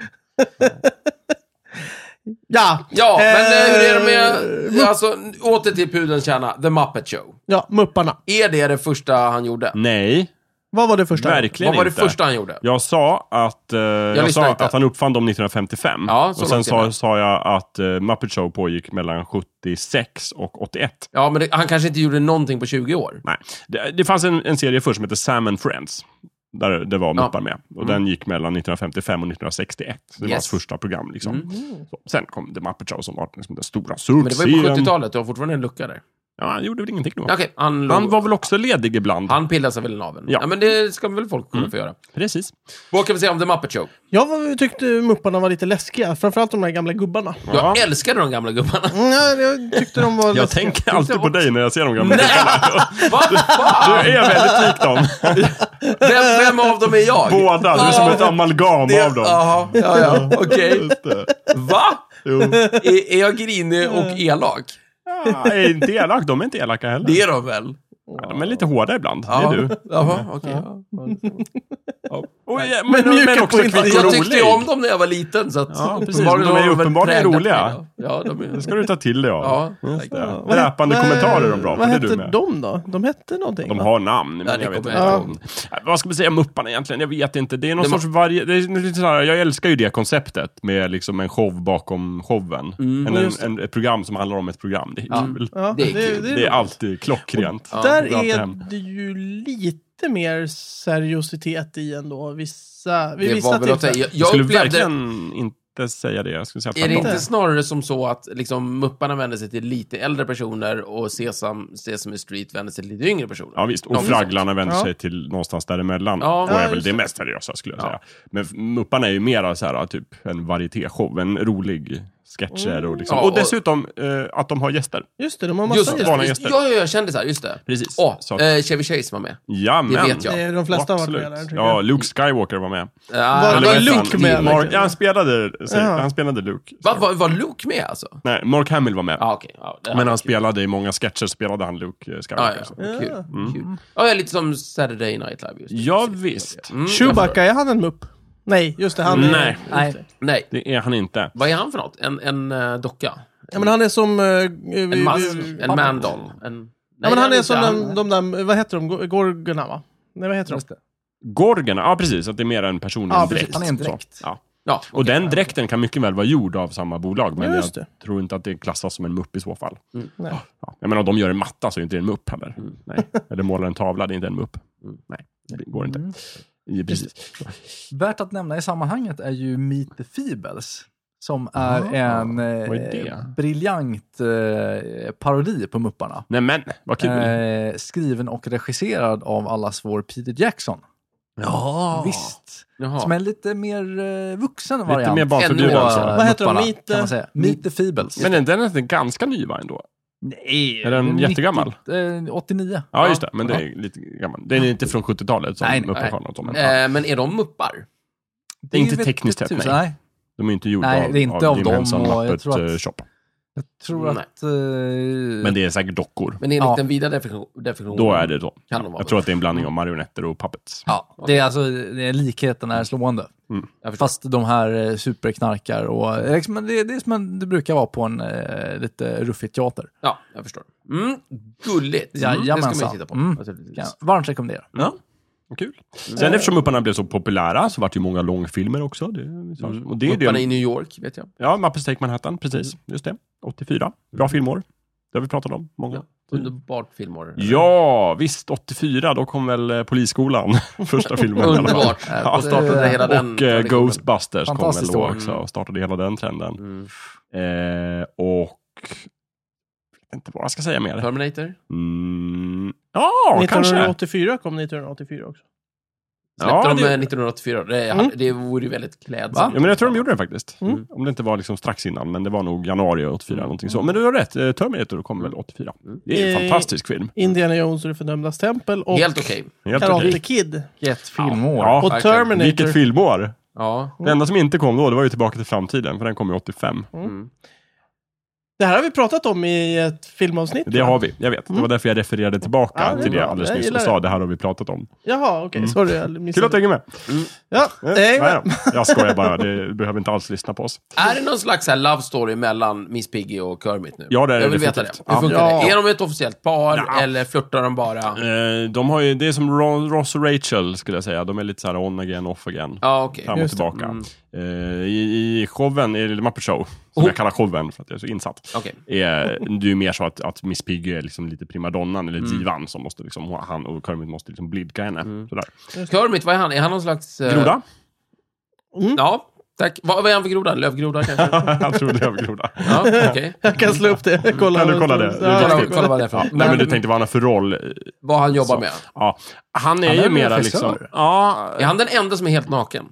Ja, Ja, men eh, hur är det Eh, med... Alltså, åter till pudelns kärna. The Muppet Show. Ja, Mupparna. Är det det första han gjorde? Nej, Vad var det första? Mm, verkligen Vad var det inte. första han gjorde? Jag sa att, eh, jag lyssnar sa inte. att han uppfann dem 1955. Ja, så och sen långt är sa, det. sa jag att eh, Muppet Show pågick mellan 76 och 81. Ja, men det, han kanske inte gjorde någonting på 20 år. Nej. Det, det fanns en, en serie först som hette Sam and Friends. Där det var muppar med. Och den gick mellan 1955 och 1961. Så det var Mm. Yes. Mm. hans första program. Liksom. Så, sen kom The Muppet Show som var liksom, den stora Men det var ju på succén. 70-talet, du har fortfarande en lucka där. Ja, han gjorde väl ingenting då. Okej, han, låg- Han var väl också ledig ibland? han pillade sig väl i naveln. Ja. Ja. Mm. men det ska väl folk kunna få göra. Precis. Vad kan vi säga om The Muppet Show? Jag var- tyckte Mupparna var lite läskiga. Framförallt de där gamla gubbarna. Jag älskade de gamla gubbarna. Mm, ja, jag tyckte de var Jag läskiga. tänker alltid på dig när jag ser de gamla. Nej! Vad Du fan? är väldigt lik dem. Vem, vem av dem är jag? Båda. Du är som ett amalgam Det- av dem. Jaha, ja, ja, okej. Just det. Va? Jo. Är, är jag grinig och elak? Ja, är inte elak. De är inte elaka heller. Det är de väl? Ja, de är lite hårda ibland. Ja. Det är du. Jaha, okej. Och, ja, Men men, men, mjuka på också inte. kvick och rolig. Jag tyckte ju om dem när jag var liten, så att Ja, precis. De är har ju väl uppenbarligen präglat roliga. mig då. Ja, de Det är... ska du ta till dig av. Ja, Just det. Vad hette- Dräpande vad- kommentarer om bra, för Vad det är du hette med. de då? De hette någonting De va? har namn, men Ja, det jag vet kommer inte. jag ihåg. Ja. Vad ska man säga om Mupparna egentligen? Jag vet inte. Det är någon Det må- sorts varje... Det är lite så här, jag älskar ju det konceptet med liksom en show bakom showen. Mm, en, en, just en, ett program som handlar om ett program. Det är, kul. Ja, Det är kul. Det är alltid klockrent. Där bra program. är det ju lite mer seriositet i ändå. Vissa, vid Det vissa var väl att säga. tillfällen. Jag Jag, jag skulle upplevde... verkligen inte säga det. Jag skulle säga Är det tvärtom. inte snarare som så att liksom, mupparna vänder sig till lite äldre personer och Sesam, Sesame Street vänder sig till lite yngre personer? Ja visst, och Någonting fragglarna vänder Ja. sig till någonstans däremellan. Ja. och Ja, är väl just det det. mest seriösa skulle jag Ja. säga. Men f- Mupparna är ju mera så här, typ en varietéshow, en rolig sketcher och liksom. Ja, och och- dessutom eh, att de har gäster. Just det, de har massa Just det, gäster. vanliga just, gäster. ja, ja, jag kände så här, just det. Precis. Åh, Så- eh, Chevy Chase var med. Jamen. Det vet jag. Det är De flesta har varit Absolut. med där, tycker Ja, jag. Luke Skywalker var med. Ah, Eller var vad vad Luke heter han? med, Mark- verkligen? ja, han, spelade, säg, Ja. han spelade Luke. Va, va, var Luke med alltså? Nej, Mark Hamill var med. Ja, okej. Ja, det- Men ja, han kul. Ah, spelade i många sketcher, spelade han Luke eh, Ja, Skywalker. ja, så. ja. Kul. Ja. Kul. Ja, ja, lite som Saturday Night Live. Just det. Mm. Ja, Precis. visst. Mm, jag förstår. Chewbacca, är han en mupp? Nej, just det. Han är, Nej. Nej. Nej, Det är han inte. vad är han för något? En, en eh, docka? Ja, men han är som... eh, En vi- mask? vi- En mandoll? En... Ja, Nej, men han är inte- som han- de, de där, vad heter de? Go- Gorgorna va? Nej, vad heter de? Just det. Gorgerna, ja precis, att det är mer en person i Ja, en precis. dräkt. Han är en Så. dräkt. Ja. Ja, Och okej. den dräkten kan mycket väl vara gjord av samma bolag, men Ja, jag just det. tror inte att det klassas som en mupp i så fall. Mm, Nej. Ja. Jag menar, om de gör en matta så är inte det en mupp heller. Nej. Eller målar en tavla, det är inte en mupp. Mm, Nej, det går inte. Ja, precis. Värt att nämna i sammanhanget är ju Meet the Feebles. Som är en Ah, vad är det? eh, briljant eh, parodi på Mupparna. Nej men, vad kul. Eh, skriven och regisserad av allas vår Peter Jackson. Ja. Visst. Jaha. Som en lite mer eh, vuxen Ah. Lite variant. mer barnförbjuden. Ännu på, alltså. eh, Vad heter de? Mupparna, Meet the- Kan man säga. Meet the Feebles. Men den den är inte ganska ny va ändå? Nej, Är den jättegammal? Eh, 89. Ja, just det. Men det är lite gammal. Den är inte från 70-talet som Nej, nej, muppar nej. har något om. Ja. Eh, men är de muppar? Det är inte vet tekniskt tusan. sett, nej. typ- nej. De är inte gjorda Nej, av, det är inte av Jim dem Henson och jag Muppet tror att- eh, Shop. Jag tror Nej. att... eh, Men det är säkert dockor. Men enligt Ja. den vida definition- definitionen. Då är det så. Kan de vara Jag tror att det är en blandning av marionetter och puppets. Ja, det är alltså det är likheten är slående. Jag förstår. Fast de här eh, superknarkar och... eh, Liksom, men det, det är som en, det brukar vara på en eh, lite ruffig teater. Ja, jag förstår. Mm, gulligt. Mm, det ska man ju Jajamensan. titta på. Mm. naturligtvis. Kan jag varmt rekommendera. Ja. Kul. Sen eftersom Mupparna blev så populära så vart det ju många långfilmer också. Det, Mm. Mm, och det är Mupparna det. Mm. i New York, vet jag. Ja, Muppets Take Manhattan, precis. Mm. Just det. 84. Bra filmår. Det har vi pratat om. Många. Ja. Underbart filmår. Ja, visst. 84, då kom väl eh, Polisskolan. Första filmen i alla fall. Underbart. Ja. Och startade hela den Och eh, traditionen. Ghostbusters kom väl Fantastiskt då år. också och startade hela den trenden. Mm. Eh, och... Jag vet inte vad jag ska säga mer. Terminator. Mm. Ja, kanske. 1984 kom 1984 också. Släppte Ja, de det- eh, 1984? Det, Mm. det vore ju väldigt Ja, klädsamt. men jag tror de gjorde det faktiskt. Mm. Om det inte var liksom strax innan, men det var nog januari 84 eller någonting så. Men du har rätt, eh, Terminator kom väl 84. Det är en Eh, fantastisk film. Indiana Jones och det fördömdas tempel och Helt okej. Helt Karate okej. Kid. Ett filmår. Ja. Och verkligen. Terminator. Vilket filmår! Ja. Det enda som inte kom då, det var ju Tillbaka till framtiden, för den kom ju 85. Mm. Det här har vi pratat om i ett filmavsnitt. Det har vi, jag vet. Det var därför jag refererade tillbaka Mm. Ja, det är till det bra. alldeles Jag nyss gillar och sa det. det här har vi pratat om. Jaha, okej. Sorry, jag Kul att du missade. hänger med. Ja, Eh, nej, nej men- då. Jag skojar bara, du behöver inte alls lyssna på oss. Är det någon slags här love story mellan Miss Piggy och Kermit nu? Ja, det är det Jag vill veta det. definitivt. Hur funkar Ja. det? Är de ett officiellt par Ja. eller flörtar de bara? Eh, De har ju, det är som Ro- Ross och Rachel skulle jag säga, de är lite så här on again, off again. Ja, okej. fram och Just det. tillbaka. Eh, I, I showen, i Little Muppet Show, som jag kallar showen för att jag är så insatt, Okej. är det är ju mer så att, att Miss Piggy är liksom lite primadonnan eller divan som måste liksom, han och Kermit måste liksom blidka henne. Sådär. Kermit, vad är han? Är han någon slags... eh, Groda? Ja, tack. Vad, vad är han för groda? Lövgroda kanske? jag tror det är groda. ja, okej. jag kan slå upp det. Kolla Kan du vad- kolla det? Ja, Kolla jag det. kan Kolla vad det är för något. Nej men du tänkte vad han har för roll. eh, Vad han jobbar Så. med. Ja. Han är Han är ju väl mera regissör? liksom... Ja, Är han den enda som är helt naken?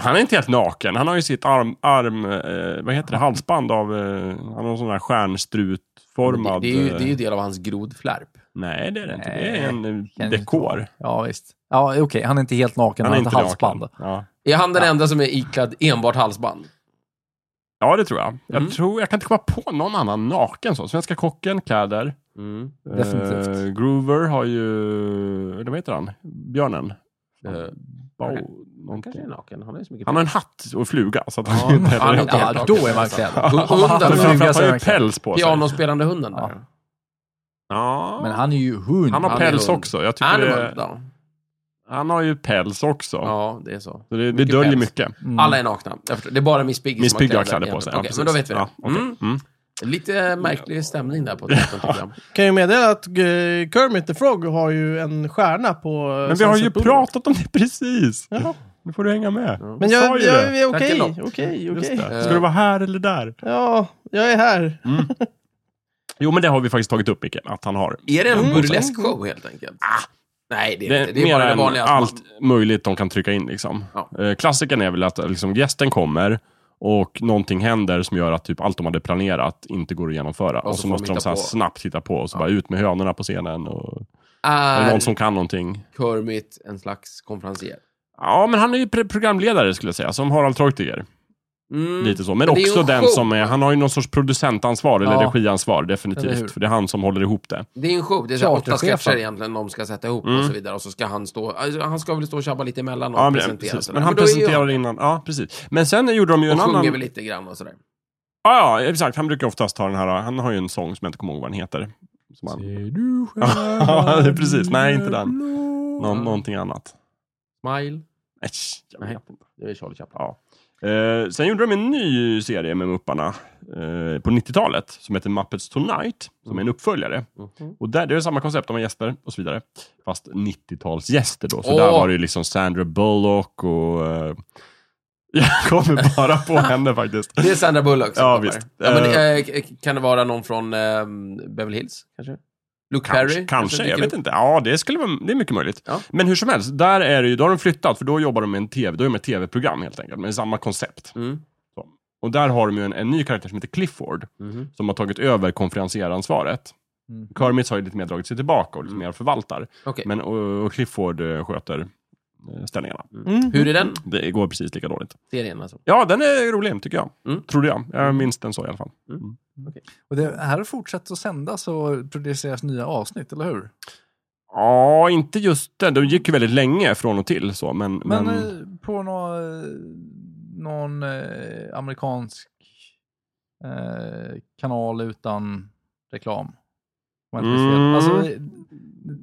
han är inte helt naken. Han har ju sitt arm... arm eh, vad heter det? Halsband av... Eh, han har någon sån här Det, stjärnstrutformad... det, är ju, eh, det är ju del av hans grodflärp. Nej, det är det inte. Det Nej, är en eh, inte dekor. Ja, visst. Ja, okej. Han är inte helt naken. Han, har inte halsband. naken. Ja. Är han den enda som är iklädd enbart halsband? ja, det tror jag. Jag, tror, jag kan inte komma på någon annan naken så. Svenska kocken, kläder. Mm. Definitivt. Eh, Groover har ju... eller Vad heter han? Björnen? Eh, Bow, kanske någonting. är naken. Han har ju så mycket Han har en hatt och fluga. Så att Ja, han inte han är heller- inte helt Ja, naken. då är man klädd. Hunden- Han har Men fluga framförallt så är har han ju han klädd. päls på sig. Pianospelande hunden där. Ja. Men han är ju hund. han har han är päls hund. också. Jag tycker Animal, det, då. han har ju päls också. Ja, det är så. Så det, det Mycket döljer päls. mycket. Mm. Alla är nakna. Jag förstår. Det är bara Miss Piggy Miss som Piggy har kläder på sig. Okej, Ja, men då vet vi det. precis. Ja, okej. mm. Mm. Lite märklig stämning där på teatern, tycker jag. Kan ju meddela att eh, Kermit the Frog har ju en stjärna på... eh, Men vi har ju Sunset Boulevard. pratat om det precis. Jaha. Nu får du hänga med. Men Vi jag, sa jag, ju det. är Tack okej, ändå. okej, Just okej. det. Ska du vara här eller där? Ja, jag är här. Mm. Jo, men det har vi faktiskt tagit upp, Micke. Att han har. Är det en burleskshow helt enkelt? Mm. Ah. Nej, det är det inte. Det är mer bara det än vanliga. att man- allt möjligt de kan trycka in. Liksom. Ja. Eh, klassikern är väl att liksom, gästen kommer och någonting händer som gör att typ, allt de hade planerat inte går att genomföra. Och, så så, får de måste de hitta så här, på. snabbt hitta på och så bara ut med hönorna på scenen. Och, eller Är någon som kan någonting. Kermit en slags konferencier? Ja, men han är ju pre- programledare skulle jag säga, som Harald Treutiger. Mm. Lite så. Men Men det är ju också en den show. som är, han har ju någon sorts producentansvar eller Ja. regiansvar Eller hur? definitivt. För det är han som håller ihop det. Det är en show. Det är så här åtta Teaterchefen. sketcher egentligen de ska sätta ihop och så vidare. Och så ska han stå... alltså, Han ska väl stå och tjabba lite emellan och Mm. Ja, men, presentera. precis. sådär. men han då är ju- presenterar innan. Ja, precis. Men sen gjorde de ju en Och sjunger annan... väl lite grann och sådär. Ja, ja, exakt. Han brukar oftast ha den här, han har ju en sång som jag inte kommer ihåg vad den heter. Som han... du Ja, det är precis. Nej, inte den. Nå- någonting annat. Smile. Nej, jag vet Nej. inte. Det är Charlie Chaplin. Ja. Eh, sen gjorde de en ny serie med Mupparna eh, på 90-talet som heter Muppets Tonight, som är en uppföljare. Mhm. Och där, det är samma koncept, de har gäster och så vidare. Fast 90-talsgäster då. Så Åh! där var det ju liksom Sandra Bullock och... Eh, jag kommer bara på henne faktiskt. Det är Sandra Bullock som Ja, kommer. visst. Ja, men, Eh, eh, k- kan det vara någon från eh, Beverly Hills? Kanske? Luke Kanske, Perry? kanske jag dyker vet upp. inte. Ja, det, skulle vara, det är mycket möjligt. Ja. Men hur som helst, där är det ju, då har de flyttat, för då jobbar de med en tv, då är de med ett tv-program helt enkelt, med samma koncept. Mm. Och där har de ju en, en ny karaktär som heter Clifford, Mhm. som har tagit över konferencieransvaret. Mm. Kermit har ju lite mer dragit sig tillbaka och lite mer förvaltar. Okej. Men, och, och Clifford eh, sköter eh, ställningarna. Hur är den Det går precis lika dåligt. serien? Alltså? Ja, den är rolig tycker jag. Mm. Trodde jag. Jag minns den så i alla fall. Och det här fortsätter att sändas och produceras nya avsnitt, eller hur? Ja, inte just den. De gick ju väldigt länge från och till så, men... Men, men, eh, på nå, eh, någon eh, amerikansk eh, kanal utan reklam. Var inte fel. Mm. Alltså, eh,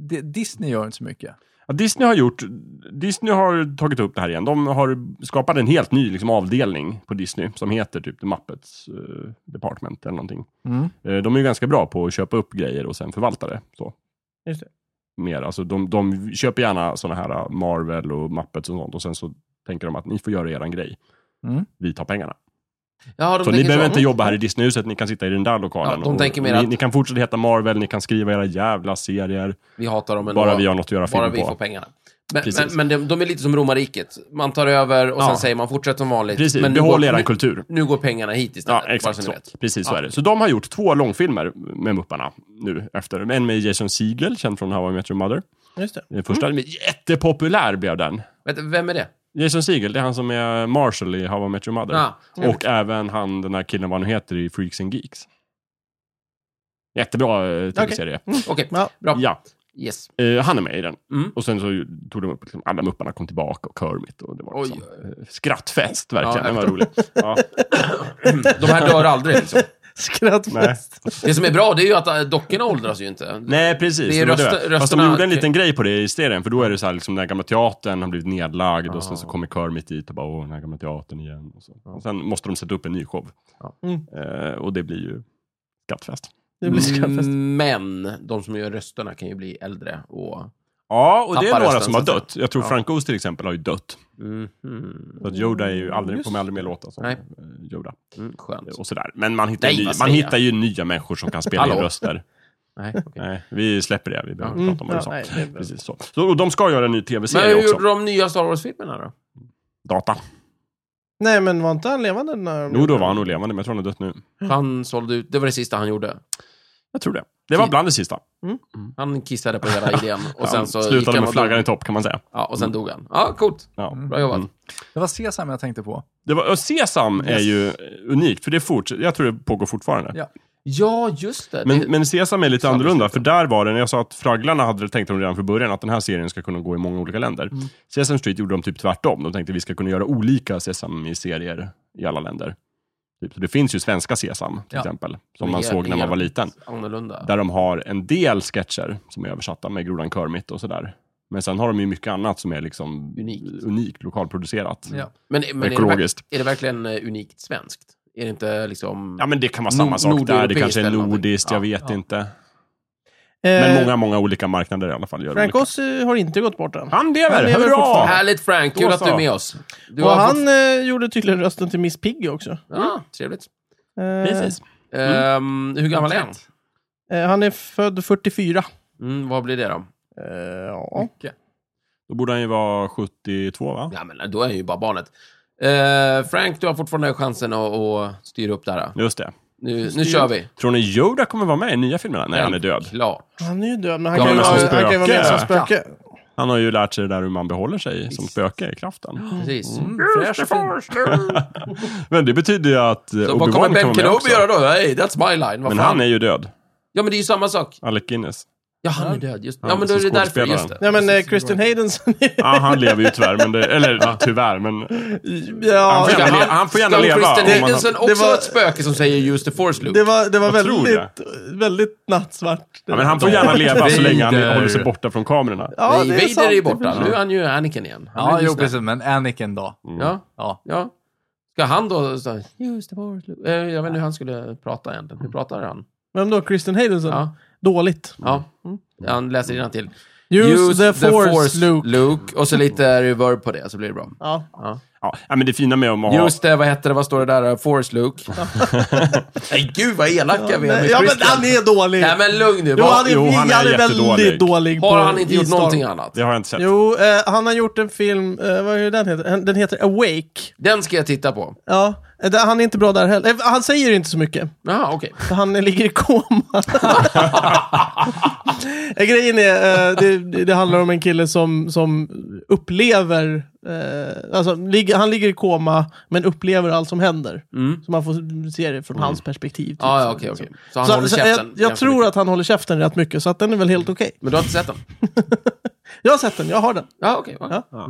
D- Disney gör inte så mycket. ja, Disney har gjort... Disney har tagit upp det här igen. De har skapat en helt ny liksom, avdelning på Disney som heter typ The Muppets eh, Department eller någonting. Eh, De är ju ganska bra på att köpa upp grejer och sen förvalta det. Så. Just det. Mer. Alltså, de, de köper gärna sådana här eh, Marvel och Muppets och sånt och sen så tänker de att ni får göra er grej. Mm. Vi tar pengarna. Ja, de Så ni tänker behöver så. inte jobba här i Disneyhuset, ni kan sitta i den där lokalen. Ja, de tänker mer ni, att- ni kan fortsätta heta Marvel, ni kan skriva era jävla serier. Vi hatar dem, men bara vi har något att göra bara film vi får på. pengarna. Men, Precis. men, men de, de är lite som romarriket. Man tar över och Ja. sen säger man fortsätt som vanligt. Precis, men nu behåll går- er nu- kultur. Nu går pengarna hit istället. Ja, Eh, bara exakt ni så. vet. Precis så Ja. är det. Så de har gjort två långfilmer med Mupparna nu efter. En med Jason Segel, känd från How I Met Your Mother. Just det. Den första, mm. jättepopulär blev den. Vänta, vem är det? Jason Segel, det är han som är Marshall i How I Met Your Mother. Ja. Och även han, den här killen, vad han nu heter, i Freaks and Geeks. Jättebra eh, tv-serie. Okej, Ja. bra. Ja, Yes. eh, han är med i den. Mm. Och sen så tog de upp, liksom, alla mupparna kom tillbaka och Kermit. Och det var Oj. liksom, eh, skrattfest verkligen, det Ja, var roligt. Ja, De här dör aldrig. Liksom. nej. Skrattfest. Det som är bra, det är ju att äh, dockorna åldras ju inte. nej, precis. Det är Det var det. röster- Fast de rösterna- gjorde en liten grej på det i serien, för då är det så här, liksom, den här gamla teatern har blivit nedlagd och sen så kommer Kermit dit och bara, åh, den här gamla teatern igen. Och så. Och sen måste de sätta upp en ny show. Ja. Mm. Eh, och det blir ju skrattfest. Det blir skrattfest. Mm. Men de som gör rösterna kan ju bli äldre och... Ja, och det är Tappar några rösten, som har så att dött. Jag tror Ja. Frank Oz till exempel har ju dött. Mhm. Så att Yoda är ju aldrig, Just kommer aldrig mer låta som Nej. eh, Yoda. Eh, Mm, skönt. Och sådär. Men man hittar, Nej, ju, ny, vad man säger hittar ju nya människor som kan spela in Hallå. röster. Nej, okej. Nej, vi släpper det, vi behöver Mm, inte prata om ja, vad du nej, sa. det är bra. Precis så. så. Och de ska göra en ny Men hur tv-serie också. gjorde de nya Star Wars-filmerna då? Data. Nej, men var inte han levande när... Jo, då var han nog levande, men jag tror han har dött nu. Han sålde ut, det var det sista han gjorde. Mm. Jag tror det. Det var Tid. bland det sista. Han kissade på hela idén och sen Han så gick slutade han med och flaggan i dog. topp, kan man säga. Ja, och sen dog han. Ja, coolt. Ja. Bra jobbat. Mm. Det var Sesam jag tänkte på. Det var, och Sesam är ju eh, unikt, för det fortsätter. Jag tror det pågår fortfarande. Ja. Ja, just det. det Men, men Sesam är lite Samma annorlunda, för där var det, när jag sa att Fragglarna hade tänkt de redan från början, att den här serien ska kunna gå i många olika länder. Sesam Street gjorde de typ tvärtom. De tänkte vi ska kunna göra olika Sesam-serier i alla länder. Typ. Så det finns ju svenska Sesam, till Ja. exempel, som Men man är- såg när är man var liten. Annorlunda. Där de har en del sketcher som är översatta med Grodan Kermit och sådär. Men sen har de ju mycket annat som är liksom Unikt. unikt lokalproduverkat. Ja. Men, men är, det, verk- ekologiskt. är det verkligen eh, unikt svenskt? Är det inte liksom... Ja, men det kan vara Nor- samma sak där. Det nordeuropeiskt kanske är eller någonting. nordiskt, jag vet ja. inte. Eh, Men många, många olika marknader i alla fall. Gör Frank olika. Oz eh, har inte gått bort än. Han lever! Han lever Hurra! fortfarande. Härligt Frank, kul Då att du är så. med oss. Du och har han fått- eh, gjorde tydligen rösten till Miss Piggy också. Ja, trevligt. Eh, Precis. Ehm, hur gammal är han? eh, han är född 44. Mm, vad blir det då? Eh, ja. Då borde han ju vara 72, va? Ja, men då är han ju bara barnet. Eh, Frank, du har fortfarande chansen att, att styra upp det här. Just det. Nu, nu kör vi. Tror ni Yoda kommer vara med i nya filmerna? Nej, han är död. Klar. Han är ju död, men han, Ja, kan, ju men vara, som han kan ju vara med som spöke. spöke. Han har ju lärt sig det där hur man behåller sig som spöke i kraften. Precis. Mm. Fräsch och fin. Men det betyder ju att eh, Så vad Obi-Wan kommer Ben kommer med Kenobi också. göra då? Hey, that's my line. Vad Men fan? han är ju död. Ja, men det är ju samma sak. Alec Guinness. Ja, han är död. Just... Ja, Han men då är som det därför. skådespelaren. Just det. Ja, men eh, Christian Hayden... Ja, han lever ju tyvärr, men det, eller tyvärr, men... ja, Han får Ska gärna, le- han får gärna ska leva. Christian om han- Higginson Det också var- vara ett spöke som säger use the force, Luke? det var, det var Jag tror väldigt, väldigt nattsvart. Ja, men han får gärna leva så länge han Vader. håller sig borta från kamerorna. Ja, det är Vader sant. är ju borta. Nu är han ju Anakin igen. Han Ja, är ju jo, snäll. precis. Men Anakin då? Mm. Ja, Ja. ja. Ska han då... Så, use the force, Luke. Eh, Jag vet inte hur han skulle prata egentligen. Hur Mm. pratar han? Vem då? Christian Hayden? Ja. Ja. Dåligt. ja. Han läser innantill. till. Use, Mm. the, force, Luke. Luke. Och så lite reverb på det, så blir det bra. Ja. Ja. Ja, ja, men det fina med om att ha... Just det, vad hette det, vad står det där? Force Luke. Nej, gud vad elaka vi är med ja, men Christian. han är dålig. Nej, men lugn nu. jo, Vad- han är, Jo, han är han är jättedålig. väldigt dålig. har på- han inte i gjort Star- någonting annat? Det har jag inte sett. Jo, eh, han har gjort en film, eh, vad är den heter? Den heter Awake. Den ska jag titta på. Ja, eh, där- han är inte bra där heller. Eh, Han säger inte så mycket. Jaha, okej. För han ligger i koma. Eh, Grejen är, eh, det, det handlar om en kille som, som upplever, eh, alltså, ligger- han ligger i koma men upplever allt som händer. Så man får se det från hans perspektiv. Typ. Mm. Ah, Ja, ja, Så- okej, så. okej. Så han Så- håller så käften. jag, jag ganska tror mycket. att han håller käften rätt mycket, så att den är väl helt okej. Men du har inte sett den? Jag har sett den, jag har den. Ja, okej. ja. Ja.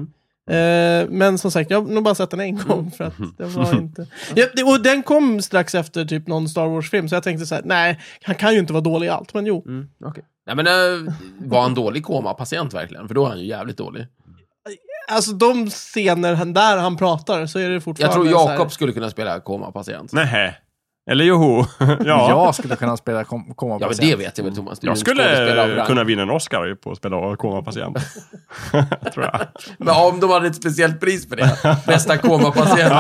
Eh, men som sagt, jag har nog bara sett den en Mm. gång. För att den var inte... ja, det- och den kom strax efter typ någon Star Wars-film, så jag tänkte så här: nej, han kan ju inte vara dålig i allt, men jo. Mm, okej. Nej, men eh, var han dålig komapatient verkligen? För då är han ju jävligt dålig. Alltså de scener han, där han pratar så är det Jag fortfarande tror så här- Jakob skulle kunna spela komapatient. Nähä. Eller joho. ja. Jag skulle kunna spela kom, komma Ja, på men scen. det vet jag väl Thomas. Du är Jag ju en skådespelare av skulle rang. kunna vinna en Oscar på att spela och komma patient. Tror jag. Men om de hade ett speciellt pris för det. Bästa komapatient.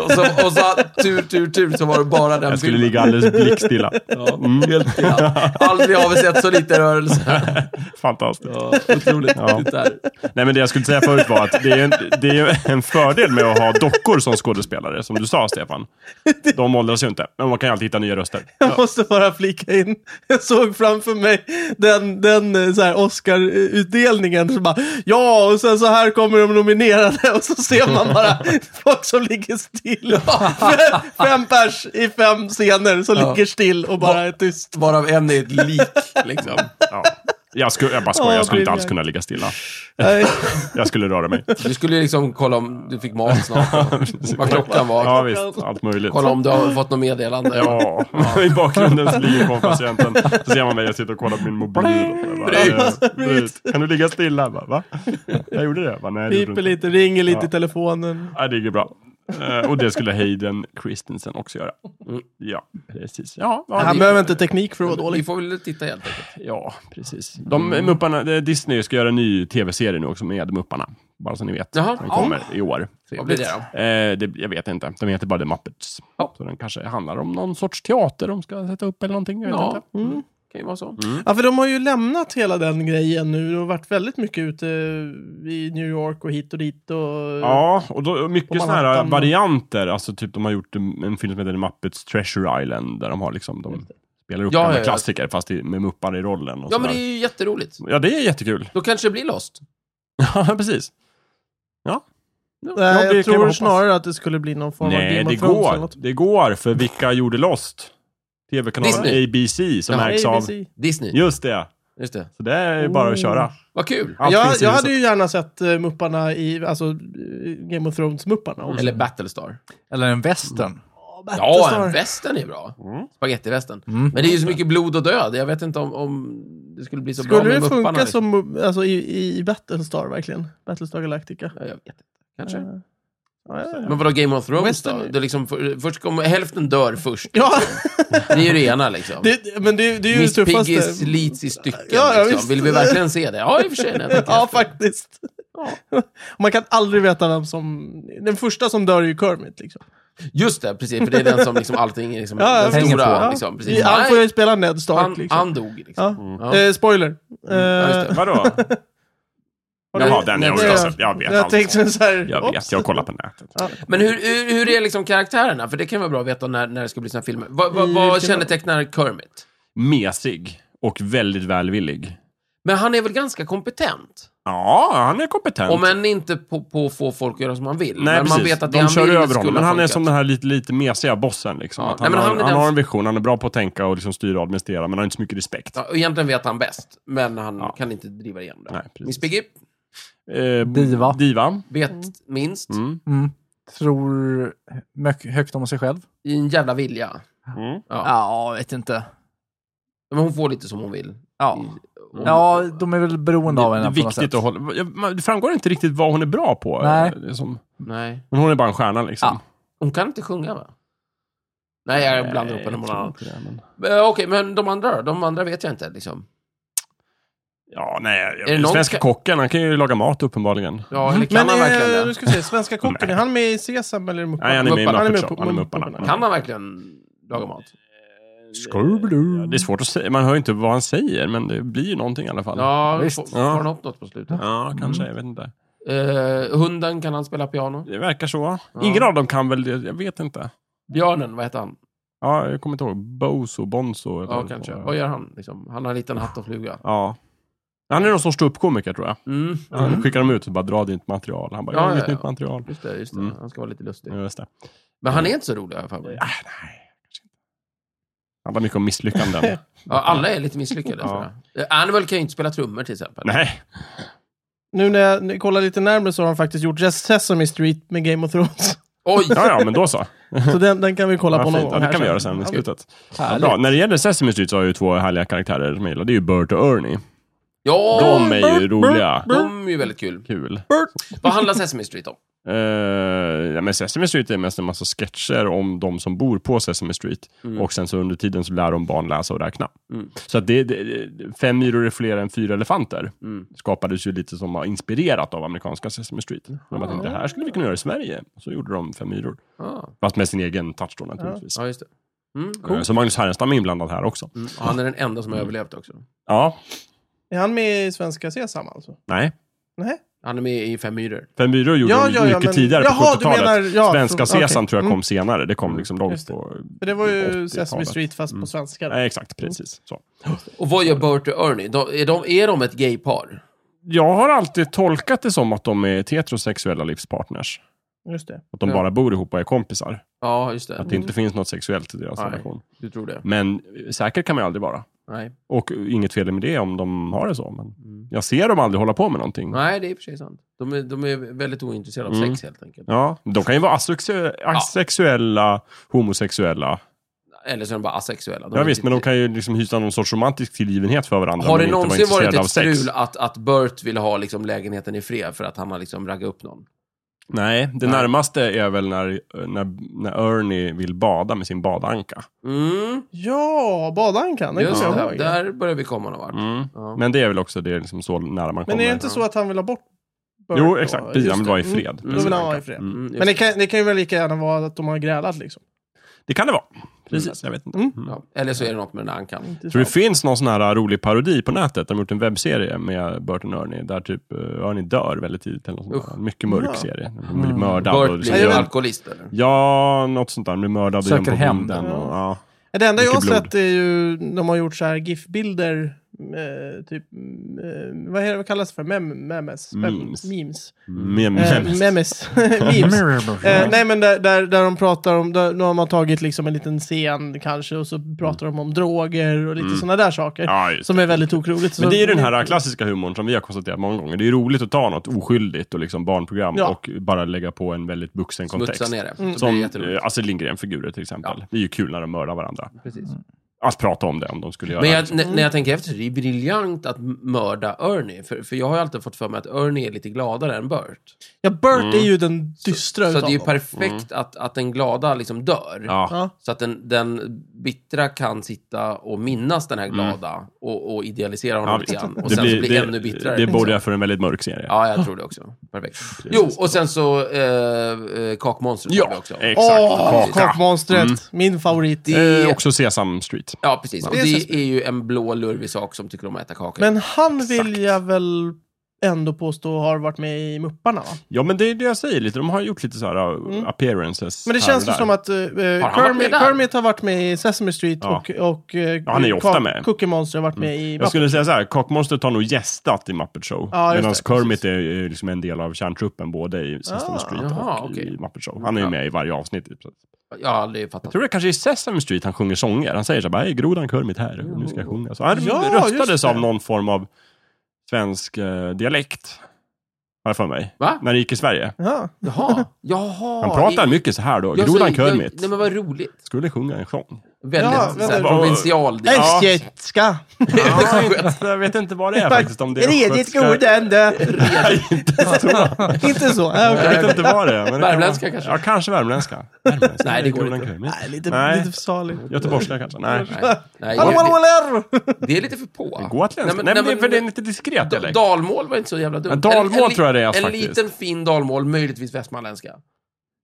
och, så, och så tur, tur, tur så var det bara den Jag skulle ligga alldeles blickstilla. Mm. Ja, helt ja. Aldrig har vi sett så lite rörelse. Fantastiskt. Ja, otroligt. Ja. Det där. Nej, men det jag skulle säga förut var att det är, en, det är ju en fördel med att ha dockor som skådespelare, som du sa Stefan. De åldras ju inte, men man kan ju alltid hitta nya röster. Jag måste bara flika in. Jag såg framför mig den, den eh, så här Oscar-utdelningen. Så bara, ja, och sen så här kommer de nominerade. Och så ser man bara folk som ligger still. Fem, fem pers i fem scener som Ja. ligger still och bara är tyst. Varav en är ett lik, liksom. Ja. Jag, skulle, jag bara skojar, jag skulle inte alls kunna ligga stilla. Nej. Jag skulle röra mig. Du skulle ju liksom kolla om du fick mat snart. Vad klockan var. Ja, visst. Allt möjligt. Kolla om du har fått något meddelande. Ja, i bakgrunden så ligger kompatienten. Så ser man mig, jag sitter och kollar på min mobil. Och jag bara, Bryt, eh, bryt. Kan du ligga stilla? Jag Bara, Va? Jag gjorde det. Jag Bara, Nej, det gjorde Piper du inte. lite, ringer lite Ja. i telefonen. Nej, det gick bra. Eh, Och det skulle Hayden Christensen också göra. Ja, precis. Ja, ja, Han vi- behöver inte teknik för att vara Vi dålig. får väl titta helt enkelt. ja precis. De Mupparna, eh, Disney ska göra en ny tv-serie nu också med Mupparna. Bara så ni vet. Jaha. Den kommer i år. Vad blir det då? Eh, det, jag vet inte. De heter bara The Muppets. Ja. Så den kanske handlar om någon sorts teater de ska sätta upp eller någonting. Jag vet Ja, inte. mm. kan ju vara så. Ja, för de har ju lämnat hela den grejen nu. De har varit väldigt mycket ute i New York och hit och dit. Och... Ja, och då, På mycket sådana här Manhattan. varianter. Alltså typ de har gjort en, en film som heter The Muppets Treasure Island. Där de har liksom, de spelar upp Ja, gamla ja, ja. klassiker fast i, med muppar i rollen. Och Ja, men sådär. det är ju jätteroligt. ja, det är jättekul. Då kanske det blir Lost. Ja, precis. Ja. Ja, Nej, det kan jag man tror hoppas. snarare att det skulle bli någon form av Nej, Game det of Thrones eller går. något. Det går, för vilka gjorde Lost? TV-kanalen Disney. ABC som Jaha. ägs av... ABC. Disney. Just det. Just det. Så det är bara att Oh. köra. Vad kul. Allt Jag, finns i jag huset. hade ju gärna sett eh, Mupparna i, alltså eh, Game of Thrones-Mupparna också. Eller Battlestar. Eller en västern. Ja, Battlestar. en västern är bra. Mm. Spagettivästern. Men det är ju så mycket blod och död. Jag vet inte om, om det skulle bli så bra Skulle med det mupparna, funka liksom. som mu- alltså, i, i Battlestar verkligen? Battlestar Galactica. Ja, jag vet inte. Kanske. Ja, ja, ja. Men vadå Game of Thrones Western- då? Det är liksom, för, först kommer, hälften dör först. ja Det är ju det ena liksom. det, det- men det, det är ju Miss det Piggy tuffaste. slits i stycken. Ja, ja, liksom. visst. Vill vi verkligen se det? Ja, i och för sig. när jag tänker Ja, efter. faktiskt. Man kan aldrig veta vem som... Den första som dör är ju Kermit. Liksom. Just det, precis. För det är den som liksom allting är liksom, Ja, den hänger stora. på. Liksom, I- precis. Han får Nej, ju spela Ned Stark. han, liksom. han dog liksom. ja. Ja. Eh, spoiler. Mm, Ja, just det. Eh, Vadå? Jaha, den är Nej, jag, det- alltså, jag vet jag allt. tänkte så här... oh. Jag oops. vet, jag kollar på nätet. Men hur, hur, hur är liksom karaktärerna? För det kan vara bra att veta när, när det ska bli såna här filmer. Vad, vad, I Mm, vad vilken- kännetecknar Kermit? Mesig och väldigt välvillig. Men han är väl ganska kompetent? Ja, han är kompetent. Om än inte på, på att få folk att göra som han vill. Nej, men precis. man vet att det De han kör vill över honom. skulle Men ha han är funkat. som den här lite, lite mesiga bossen. Liksom. Ja, Att nej, han, men han har, är han den- har en vision, han är bra på att tänka och liksom styra och administrera, men han har inte så mycket respekt. Ja, och egentligen vet han bäst, men han Ja. kan inte driva igenom det. Nej, precis. Miss Piggy Eh, Diva. Diva. vet minst Mm. Mm. Tror mycket högt om sig själv. i en jävla vilja. Mm. Ja. Ja, vet inte. Men hon får lite som hon vill. Ja. I- ja, de är väl beroende av Det, det är henne på något viktigt sätt. att hålla... ja, man- Det framgår inte riktigt vad hon är bra på. Nej. eh, Liksom. Nej. Men hon är bara en stjärna liksom. Ja. Hon kan inte sjunga, va? Nej, jag blandar Eh, upp henne med någon tror annan. inte det, men- Eh, Okej, men de andra då? De andra vet jag inte, liksom. Ja, nej. det någon Svenska ska- kocken, han kan ju laga mat uppenbarligen. Ja, eller kan Men han verkligen eh, det? nu ska vi se, Svenska kocken, är han med i Sesam eller i Mupparna? Nej, han är med i Mupparna, Muppet i Shop. Han är med i Mupparna. Mupparna. Kan han verkligen laga mat? Eh, Ja, det är svårt att säga. Man hör ju inte vad han säger, men det blir ju någonting i alla fall. Ja, Visst. får- får Ja. han upp något på slutet? Ja, kanske. Jag vet inte. Eh, hunden, kan han spela piano? Det verkar så. Ja. Ingen av dem kan väl det. Jag vet inte. Björnen, vad heter han? Ja, jag kommer inte ihåg. Bozo, Bonzo. eller Ja, vad det kanske. var. Vad gör han? Liksom? Han har en liten hatt och fluga. Ja. Han är någon sorts ståuppkomiker tror jag. Mm. Han skickar dem ut och bara dra ditt material. Han bara, Ja, jag har ja, inget ja. nytt material. Just det, just det. Mm. Han ska vara lite lustig. Ja, just det. Men han är inte så rolig, har jag för mig. Ah, nej, kanske inte. Han bara mycket om misslyckanden. Ja, alla är lite misslyckade. Ja. tror jag. Eh, Animal kan ju inte spela trummor till exempel. nej. Nu när jag när jag kollar lite närmare så har han faktiskt gjort Just Sesame Street med Game of Thrones. Oj! Ja, ja, men då så. Så den, den kan vi kolla Ja, på någon fint. gång. Ja, det här kan vi göra sen i Ja, slutet. Härligt. Bra. När det gäller Sesame Street så har jag ju två härliga karaktärer som jag gillar. Det är ju Bert och Ernie. Ja! De är ju roliga. De är ju väldigt kul. Kul. Vad handlar Sesame Street om? Eh, ja, men Sesame Street är mest en massa sketcher om de som bor på Sesame Street. Mm. Och sen så under tiden så lär de barn läsa och räkna. Mm. Så att det, det, fem myror är fler än fyra elefanter. Mm. Skapades ju lite som var inspirerat av amerikanska Sesame Street. De bara tänkte, det här skulle vi kunna göra i Sverige. Så gjorde de fem myror. Ah. Fast med sin egen touch då naturligtvis. Ja, just det. Mm, Eh, cool. Så Magnus Härenstam är inblandad här också. mm. Och Han är den enda som har överlevt också. Ja, Är han med i Svenska Sesam alltså? nej. Nej? Han är med i Fem myror. Fem myror gjorde de mycket tidigare på Jaha, du 70-talet. menar- ja, Svenska okej. Sesam tror jag kom Mm. senare. Det kom liksom långt Just det. på... För det var ju 80-talet. Sesame Street fast på svenska. då. Mm. Nej, exakt. Mm. Precis. Så. Och vad gör Bert och Ernie? De, är, de, är de ett gaypar? Jag har alltid tolkat det som att de är heterosexuella livspartners. Just det. Att de Ja. bara bor ihop och är kompisar. Ja, just Att det. det inte finns något sexuellt i deras Nej. relation. Du tror det? Men eh, säker kan man ju aldrig vara. Nej. Och eh, inget fel med det om de har det så. Men Mm. jag ser dem aldrig hålla på med någonting. Nej, det är i och för sig sant. De är, de är väldigt ointresserade av Mm. sex helt enkelt. Ja, de kan ju vara asexue- asexuella, homosexuella. Eller så är de bara asexuella. De Ja, är visst, inte- men de kan ju liksom hysa någon sorts romantisk tillgivenhet för varandra. men Har det inte vara någonsin varit intresserade av ett sex. strul att, att Bert vill ha liksom lägenheten i fred för att han har liksom raggat upp någon? Nej, det Nej. närmaste är väl när, när, när Ernie vill bada med sin badanka. Mm, Ja, badankan. Den just kommer jag det. ihåg. Där börjar vi komma någon vart. Mm. Ja. Men det är väl också det är liksom så nära man Men kommer. är det inte så att han vill ha bort Bert Jo, då? exakt. Just Bian vill det. vara i Mm. fred. Då vill han vara i fred. Mm. Mm, just Men det kan, det kan ju väl lika gärna vara att de har grälat liksom. Det kan det vara. Precis, jag vet inte. Mm. Mm. ja. Eller så är det något med den här ankan. Intressant. Tror det finns någon sån här rolig parodi på nätet. De har gjort en webbserie med Bert och Ernie där typ eh, Ernie dör väldigt tidigt. Eller något sånt där. En mycket mörk Ja. serie. De blir mördade. och Bert liksom Mm. blir ju gör- alkoholist eller? Ja, något sånt där. De blir mördade och Söker gömda på hämnd. vinden Och, ja. Det enda jag har Mycket blod. sett är ju, de har gjort så här GIF-bilder, eh, typ, eh, vad, är det, vad kallas det för? Mem, memes? Mem- Memes. Memes. Mm. Mem- Eh, memes. memes. Eh, nej men där, där, där de pratar om, där, de har tagit liksom en liten scen kanske och så pratar de om droger och lite sådana där saker. Mm. Ja, just Som är väldigt otroligt. Men det är ju den här klassiska humorn som vi har konstaterat många gånger. Det är ju roligt att ta något oskyldigt och liksom barnprogram Ja. och bara lägga på en väldigt vuxen Smutsa kontext. ner det. Så blir Som det jätteroligt. eh, Astrid Lindgren-figurer till exempel. Det är ju kul när de mördar varandra. Precis. Att prata om det om de skulle göra Men jag, när- när jag tänker efter så är det ju briljant att mörda Ernie. För, för jag har ju alltid fått för mig att Ernie är lite gladare än Bert. Ja, Bert Mm. är ju den dystra Så utav det är ju dem. perfekt att, att den glada liksom dör. Ja. Ja. Så att den, den bittra kan sitta och minnas den här glada och, och idealisera honom Mm. Ja, lite grann. Och Det sen så blir det, ännu bittrare. Det liksom. borde jag för en väldigt mörk serie. Ja, jag tror det också. Perfekt. Jo, och sen så eh, eh, kakmonstret har vi Ja, också. exakt. Åh, Kaka. Mm. kakmonstret! Min favorit. Det- Eh, också Sesam Street. Ja, precis. Och Det är det så- är ju en blå lurvig sak som tycker om att äta kakor. Men han vill jag väl ändå påstå har varit med i Mupparna va? Ja, men det är det jag säger lite. De har gjort lite så här uh, Mm. appearances. Men det här känns och ju där. som att eh, Har han varit med Kermit, där? Kermit har varit med i Sesame Street Ja. och, och eh, Ja, han är ju ofta Cook- med. Mm. Cookie Monster har varit med i Jag Muppet. skulle säga så här, Kakmonstret har nog gästat i Muppet Show. Ja, just Medan det, Kermit är, är liksom en del av kärntruppen både i Sesame Ah, Street jaha, och okej. i Muppet Show. Han är ju Ja. med i varje avsnitt. i princip. Jag har aldrig fattat. Jag tror det kanske är i Sesame Street han sjunger sånger. Han säger så här, bara, hej grodan Kermit här, och nu ska jag sjunga. Så han Ja, just röstades det. av någon form av svensk eh, dialekt. Har jag för mig. Va? När det gick i Sverige. Ja. Jaha. Jaha. Han pratar mycket så här då. Jag- Grodan jag- jag- Kermit. Nej, men vad roligt. Skulle sjunga en sång. Ja, Väldigt ja, vänta. provinsial. Det Ja. Östgötska! Ja, jag vet inte vad det är faktiskt. Om det är Redigt östgötska- godände! Nej, inte så. Inte så? Ja, okej. Jag vet inte vad det är. men det kan Värmländska vara- kanske? Ja, kanske värmländska. Värmländska. Nej, det går Godan inte. krymning. Nej, lite, Nej. lite för salig. Göteborgska kanske? Nej. Nej, nej, Hallå, hallå, det, hallå! det är lite för på. Gotländska? Nej, men det är för det är en lite diskret da- dialekt. Dalmål var inte så jävla dumt. Ja, dalmål li- tror jag det är, En faktiskt. liten fin dalmål, möjligtvis västmanländska.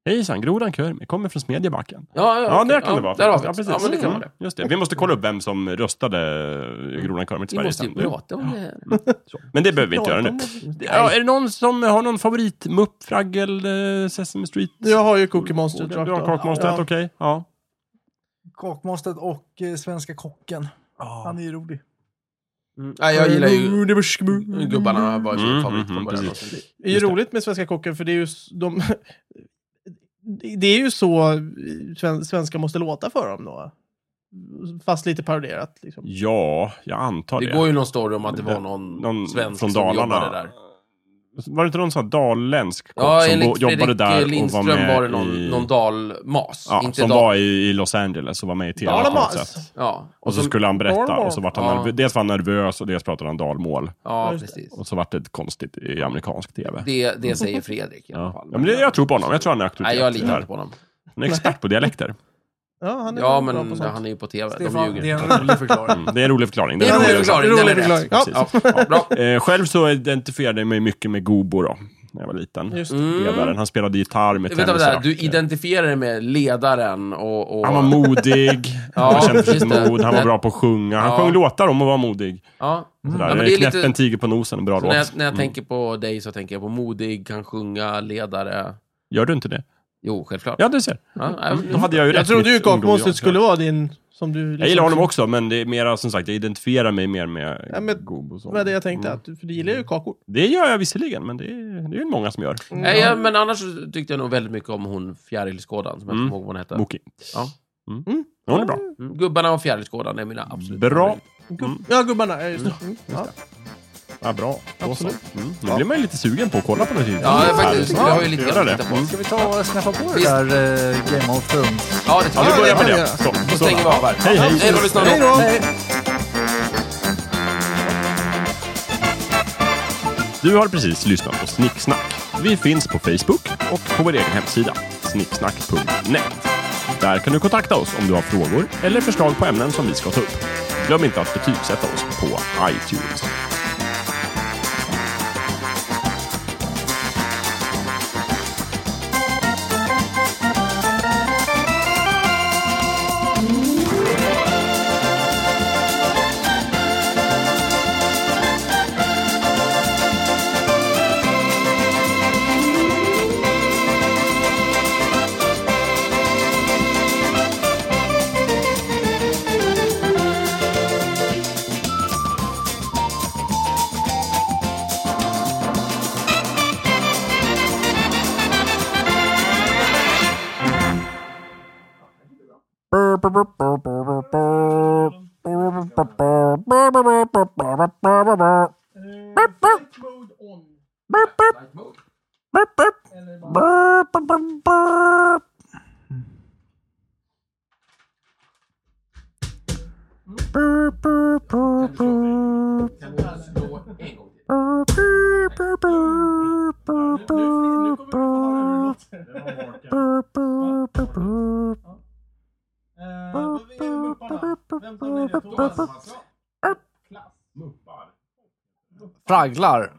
Hejsan, Grodan Körmi. Kommer från Smedjebacken. Ja, ja, Ja, okej. det kan det vara. Där har vi Ja, det. precis. Ja, men det kan vara det. Mm, Just det. Vi måste kolla upp vem som röstade Grodan Körmi till Vi Sverige måste ju sen. prata om det. Så. Men det behöver vi inte göra nu. Ja, är det någon som har någon favorit Mupp, Fraggel, eh, Sesame Street? Jag har ju Cookie Monster Du Truck har då. kakmonstret, Ja. okej. Ja. Kakmonstret och eh, Svenska Kocken. Han är ju rolig. Mm. Nej, jag gillar ju... ju... Gubbarna var ju Mm, min favorit mm, från början. precis. Det är ju Just det. roligt med Svenska Kocken för det är ju s- de... Det är ju så eh, sven- svenska måste låta för dem då. Fast lite paroderat. Liksom. Ja, jag antar det. Det går ju någon story om att det Det- var någon, någon svensk från som Dalarna. jobbade där. Var det inte någon sån här dalländsk kock Ja, som bo- enligt jobbade Fredrik där och var Lindström med var det någon, i... någon dalmas. ja, inte som dal... var i, i Los Angeles och var med i tv på något Dalamas! sätt. Ja, Och så skulle han berätta och så vart han Ja. nervös. Dels var han nervös och dels pratade han dalmål. ja Just det. precis. Och så vart det konstigt i amerikansk tv. Det, det säger Fredrik i alla Ja. fall. Ja, men det, jag tror på honom. Jag tror han är auktoritet. Nej, jag i det litar här. inte på honom. Han är expert på dialekter. Ja, han är Ja, ja, bra på men sånt. han är ju på tv. De Stefan, ljuger. det är en rolig förklaring. Mm, det är en rolig förklaring. Det är en rolig förklaring. förklaring. Den är rolig rätt. förklaring. Ja. Ja, bra. Eh, själv så identifierade jag mig mycket med Gobo då, när jag var liten. Just Mm. Ledaren. Han spelade gitarr med Vänta, vänta. Du tennisracket. identifierar dig med ledaren och... och Han var modig, han var känd för sitt just det. mod, han var bra på att sjunga. Han Ja. sjöng låtar om att vara modig. ja. Mm. Sådär. Ja, men det är Knäpp lite- en tiger på nosen, en bra Så låt. Mm. när jag, när jag tänker på dig så tänker jag på modig, kan sjunga, ledare. Gör du inte det? Jo, självklart. Ja, du ser. Ja, nej, men- Då hade jag ju Jag rätt trodde mitt ju ungdom, kakmonstret ja. skulle vara din... Som du liksom Jag gillar honom också, men det är mera som sagt, jag identifierar mig mer med Ja, men- Gobo. Det som- var det jag tänkte, Mm. att, för du gillar ju kakor. Det gör jag visserligen, men det är, det är ju många som gör. Nej, ja, men annars så tyckte jag nog väldigt mycket om hon fjärilskådan, som jag Mm. inte kommer ihåg vad hon hette. Moki. Ja. Mm. Mm. Hon är bra. Mm. Gubbarna och fjärilskådan är mina absolut Bra. Mm. Ja, gubbarna. Ja, just det. Mm. Ja. Ja, bra. Då så. Absolut. Mm. Nu blir man ju lite sugen på att kolla på något Ja, faktiskt. Härligt. Jag har ju lite Göra grann det. att titta på. Mm. Ska vi ta och snäffa på det Visst. där eh, Game of Thrones? Ja, det tycker Ja, vi jag. börjar det kan med det. vi Så, Då så. stänger vi av här. Hej, hej. Hej då, lyssnarna. Hej då! Du har precis lyssnat på Snicksnack. Vi finns på Facebook och på vår egen hemsida, snicksnack.net. Där kan du kontakta oss om du har frågor eller förslag på ämnen som vi ska ta upp. Glöm inte att betygsätta oss på iTunes. Fragglar.